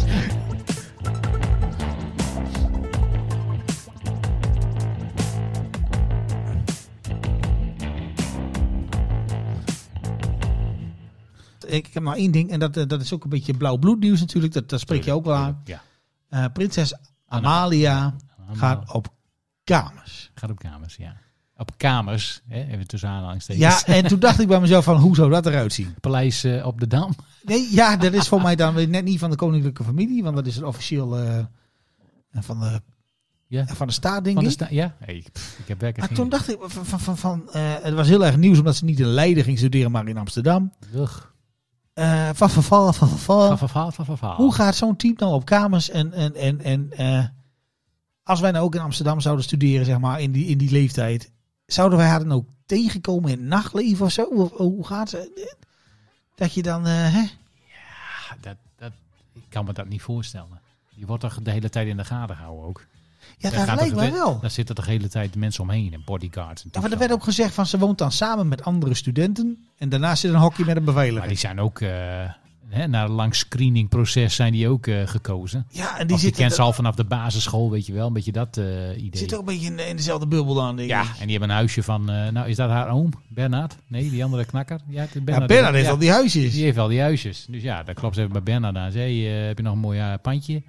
Ik heb maar één ding, en dat, eh, dat is ook een beetje blauw bloednieuws natuurlijk. Dat, dat spreek je ook wel aan. Ja. Eh, prinses Amalia gaat op kamers. Gaat op kamers, ja. Op kamers, hè? even tussen aanhalingstekens. Ja, en toen dacht ik bij mezelf van, hoe zou dat eruit zien? Paleis eh, op de Dam. Nee, ja, dat is voor mij dan weer net niet van de koninklijke familie, want dat is een officieel eh, van, de, Ja. van de staat, denk Van de ik. sta- ja, Hey, ik, pff, ik heb werkelijk Maar geen Ah, toen dacht ik, van, van, van, van, eh, het was heel erg nieuws omdat ze niet in Leiden ging studeren, maar in Amsterdam. Ugh. Eh, van verval, van verval. Van verhaal, van verhaal. Oh. Hoe gaat zo'n team nou op kamers en, en, en, en eh, als wij nou ook in Amsterdam zouden studeren, zeg maar, in die, in die leeftijd, zouden wij haar dan ook tegenkomen in het nachtleven of zo? Of, oh, hoe gaat ze? Dat je dan, eh, hè? Ah, dat, dat, ik kan me dat niet voorstellen. Je wordt toch de hele tijd in de gaten gehouden ook. Ja, Daar dat gaat lijkt toch mij de- wel. Daar zitten toch de hele tijd mensen omheen en bodyguards. En Ja, maar er toestanden. werd ook gezegd van ze woont dan samen met andere studenten. En daarnaast zit een hokje met een Maar beveiliger. die zijn ook, eh, hè, na een lang screeningproces zijn die ook eh, gekozen. ja, en Die, die die zit kent ze al vanaf de basisschool, weet je wel. Een beetje dat eh, idee. zit ook een beetje in, in dezelfde bubbel dan. Denk Ja, ik. en die hebben een huisje van, eh, nou is dat haar oom, Bernard? Nee, die andere knakker. Ja, het is Ja, Bernard, Bernard heeft Ja, al die huisjes. die heeft al die huisjes. Dus ja, dat klopt ze even bij Bernard aan. Zei, eh, heb je nog een mooi eh, pandje?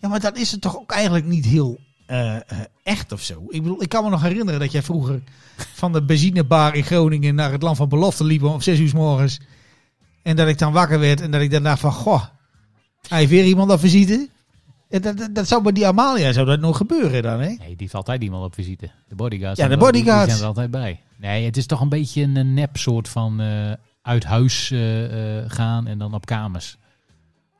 Ja, maar dat is het toch ook eigenlijk niet heel eh, eh, echt of zo. Ik bedoel, ik kan me nog herinneren dat jij vroeger van de benzinebar in Groningen naar het land van belofte liep om 6 uur 's morgens. En dat ik dan wakker werd en dat ik daarna van, goh, hij heeft weer iemand aan visite. En dat, dat, dat zou bij die Amalia zou dat nog gebeuren dan, hè? Nee, die heeft altijd iemand op visite. De bodyguards. Ja, zijn de er- die- die bodyguards. zijn er altijd bij. Nee, het is toch een beetje een eh, nep soort van eh, uit huis eh, eh, gaan en dan op kamers.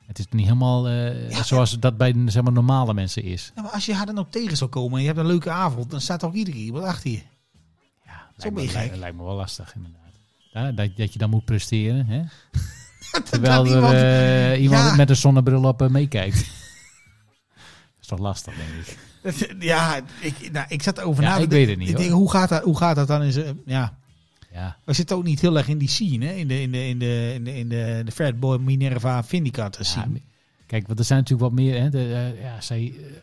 Het is niet helemaal eh, Ja, zoals dat bij zeg maar, normale mensen is. Ja, maar als je haar dan ook tegen zou komen en je hebt een leuke avond, dan staat ook iedereen iemand achter je. Ja, Zo ben je lijkt me, gek. lijkt, lijkt me wel lastig inderdaad. Ja, dat, dat je dan moet presteren, hè? (laughs) Dat- Terwijl dat er iemand- eh, iemand Ja. met een zonnebril op eh, meekijkt. (laughs) dat is toch lastig, denk ik. dat- (laughs) ja, ik, nou, ik zat erover Ja, na. te ik denken. weet het niet, Ik hoor. denk, hoe, gaat dat, hoe gaat dat dan? In zijn- ja, Ja, we zitten ook niet heel erg in die scene, hè? In de, in de, in de, in de, in de, de Fatboy Minerva Vindicat Ja, scene. Kijk, want er zijn natuurlijk wat meer. Hè, de, eh, ja, zij, eh,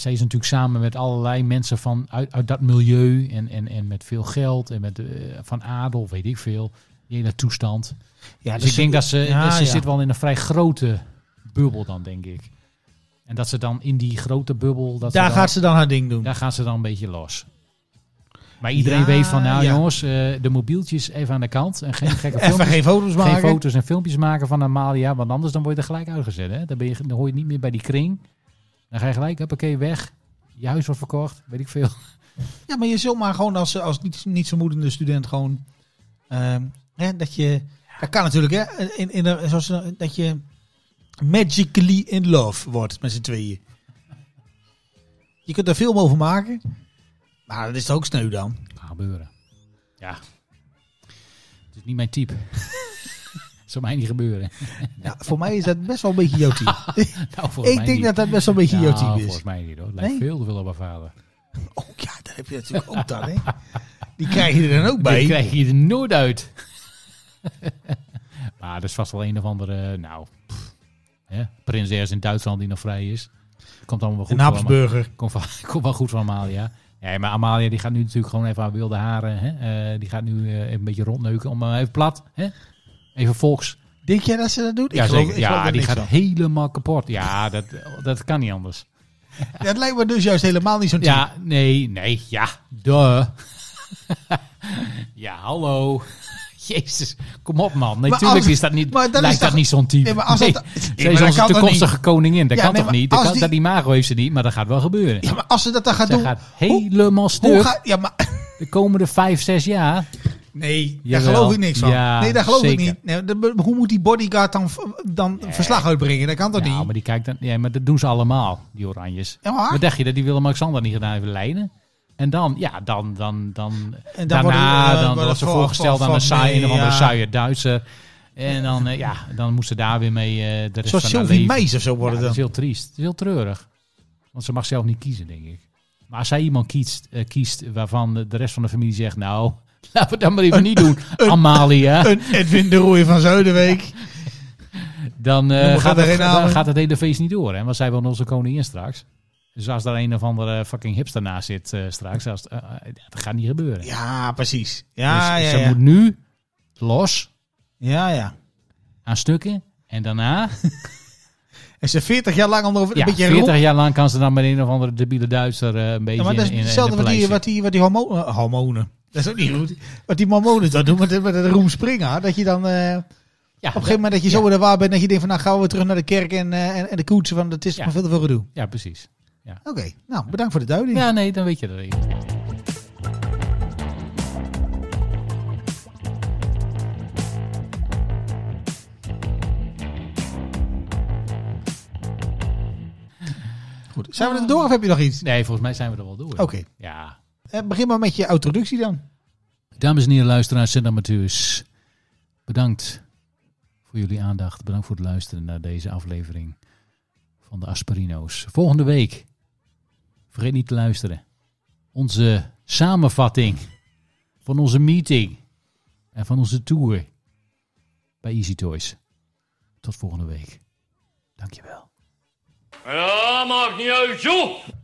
zij is natuurlijk samen met allerlei mensen van, uit, uit dat milieu. En, en, en met veel geld. En met, eh, van adel, weet ik veel. Die hele toestand. Ja, dus ik denk dat ze. Ja, dat ze ja. zit wel in een vrij grote bubbel, dan denk ik. En dat ze dan in die grote bubbel. Dat daar ze dan, gaat ze dan haar ding doen. daar gaan ze dan een beetje los. Maar iedereen Ja, weet van, nou ja. jongens, eh, de mobieltjes even aan de kant. En geen gekke (laughs) Even filmpjes. geen foto's maken. Geen foto's en filmpjes maken van Amalia, want anders dan word je er gelijk uitgezet. Hè? Dan, ben je, dan hoor je niet meer bij die kring. Dan ga je gelijk, huppakee, weg. Je huis wordt verkocht, weet ik (laughs) veel. Ja, maar je zult maar gewoon als, als niet, niet vermoedende student gewoon... ehm, hè, dat je... Dat kan natuurlijk, hè? In, in, de- zoals, ze- dat je magically in love wordt met z'n tweeën. Je kunt er film over maken. Maar dat is toch ook sneu dan? Gaat gebeuren. Ja. Het is niet mijn (laughs) type. Zou mij niet gebeuren. (laughs) Ja, voor mij is dat best wel een beetje jouw team. Nou, volgens ik mij denk niet. dat dat best wel een beetje Nou, jouw team is. volgens mij niet hoor. Het Lijkt Nee? veel te veel op haar vader. Oh ja, daar heb je natuurlijk ook dan, hè? Die krijg je er dan ook Die bij. krijg je er nooit uit. (laughs) maar er is vast wel een of andere, nou, pff, hè, prinses in Duitsland die nog vrij is. Komt allemaal wel goed Een voor hem. Habsburger. Komt wel, (laughs) komt wel goed van Amalia. Nee, maar Amalia die gaat nu natuurlijk gewoon even haar wilde haren. Hè? eh, die gaat nu eh, even een beetje rondneuken om eh, even plat. Hè? Even volks. Denk jij dat ze dat doet? Ik Ja, geloof- zeker. ik geloof Ja, daar die niks gaat van. helemaal kapot. Ja, dat, dat kan niet anders. Dat lijkt me dus juist helemaal niet zo'n team. Ja, nee, nee, ja, duh. (laughs) ja, hallo. (laughs) Jezus, kom op man. Maar Natuurlijk als- is dat niet, maar dat is lijkt dat toch- niet zo'n team. Nee, maar als dat- Nee, maar Zij is dat onze kan toch toekomstige koningin. Dat Ja, kan nee, toch maar niet? Dat, als kan, die- dat imago heeft ze niet, maar dat gaat wel gebeuren. Ja, maar als ze dat dan gaat Zij doen... gaat hoe- helemaal hoe stuk ga- ja, maar, (laughs) de komende vijf, zes jaar. nee, daar Jawel. geloof ik niks van. Ja, nee, daar geloof zeker. Eh, ik niet. Nee, de- hoe moet die bodyguard dan, dan verslag uitbrengen? Dat kan toch Ja, niet? maar die kijkt dan. Ja, maar dat doen ze allemaal, die oranjes. Ja, maar- Wat dacht je dat die Willem-Alexander niet gedaan heeft leiden? En dan, ja, dan, dan, dan, En dan daarna, worden, eh, dan worden was ze voor- voorgesteld voor- aan een, van- saai, nee, een of andere ja. saaie Duitser. En dan, eh, ja, dan moest ze daar weer mee eh, de rest Zoals van haar Sylvie leven. Meijs of zo Ja, worden dat is dan. heel triest. Dat is heel treurig. Want ze mag zelf niet kiezen, denk ik. Maar als zij iemand kiest, eh, kiest waarvan de de rest van de familie zegt, nou, (laughs) laten we dat maar even niet doen, Amalia. Een Edwin de Rooij van Zuidenweek. Dan, eh, Dan moet gaat, er het, geen dan aan. gaat het hele feest niet door. Hè? Want zij wil onze koningin straks. Dus als daar een of andere fucking hipster naast zit eh, straks, als, eh, eh, dat gaat niet gebeuren. Ja, precies. Ja, dus ja, ze ja. moet nu los ja, ja. aan stukken. En daarna, En ze 40 jaar lang om erover... ja, een beetje 40 jaar lang kan ze dan met een of andere debiele Duitser eh, een beetje Ja, maar dat in- is in- in hetzelfde de wat, die, paleis wat, die, wat die hormo- eh, hormonen. Dat is ook niet goed. Wat die hormonen dan doen met, de- met de roem springen. Dat je dan eh, zit. Ja, op een gegeven moment dat je zo in de waar bent. Dat je denkt van nou gaan we weer terug naar de kerk en, eh, en, en de koetsen. Want het is Ja. maar veel te veel gedoe. ja, precies. Oké, nou bedankt voor de duiding. Ja, nee, dan weet je dat even. Goed. Zijn we er door of heb je nog iets? Nee, volgens mij zijn we er wel door. Oké, Ja. Eh, begin maar met je introductie dan. Dames en heren, luisteraars en amateurs. Bedankt voor jullie aandacht. Bedankt voor het luisteren naar deze aflevering van de Asperino's. Volgende week, vergeet niet te luisteren, onze samenvatting van onze meeting en van onze tour bij Easy Toys. Tot volgende week. Dankjewel. Ja, maakt niet uit, joh!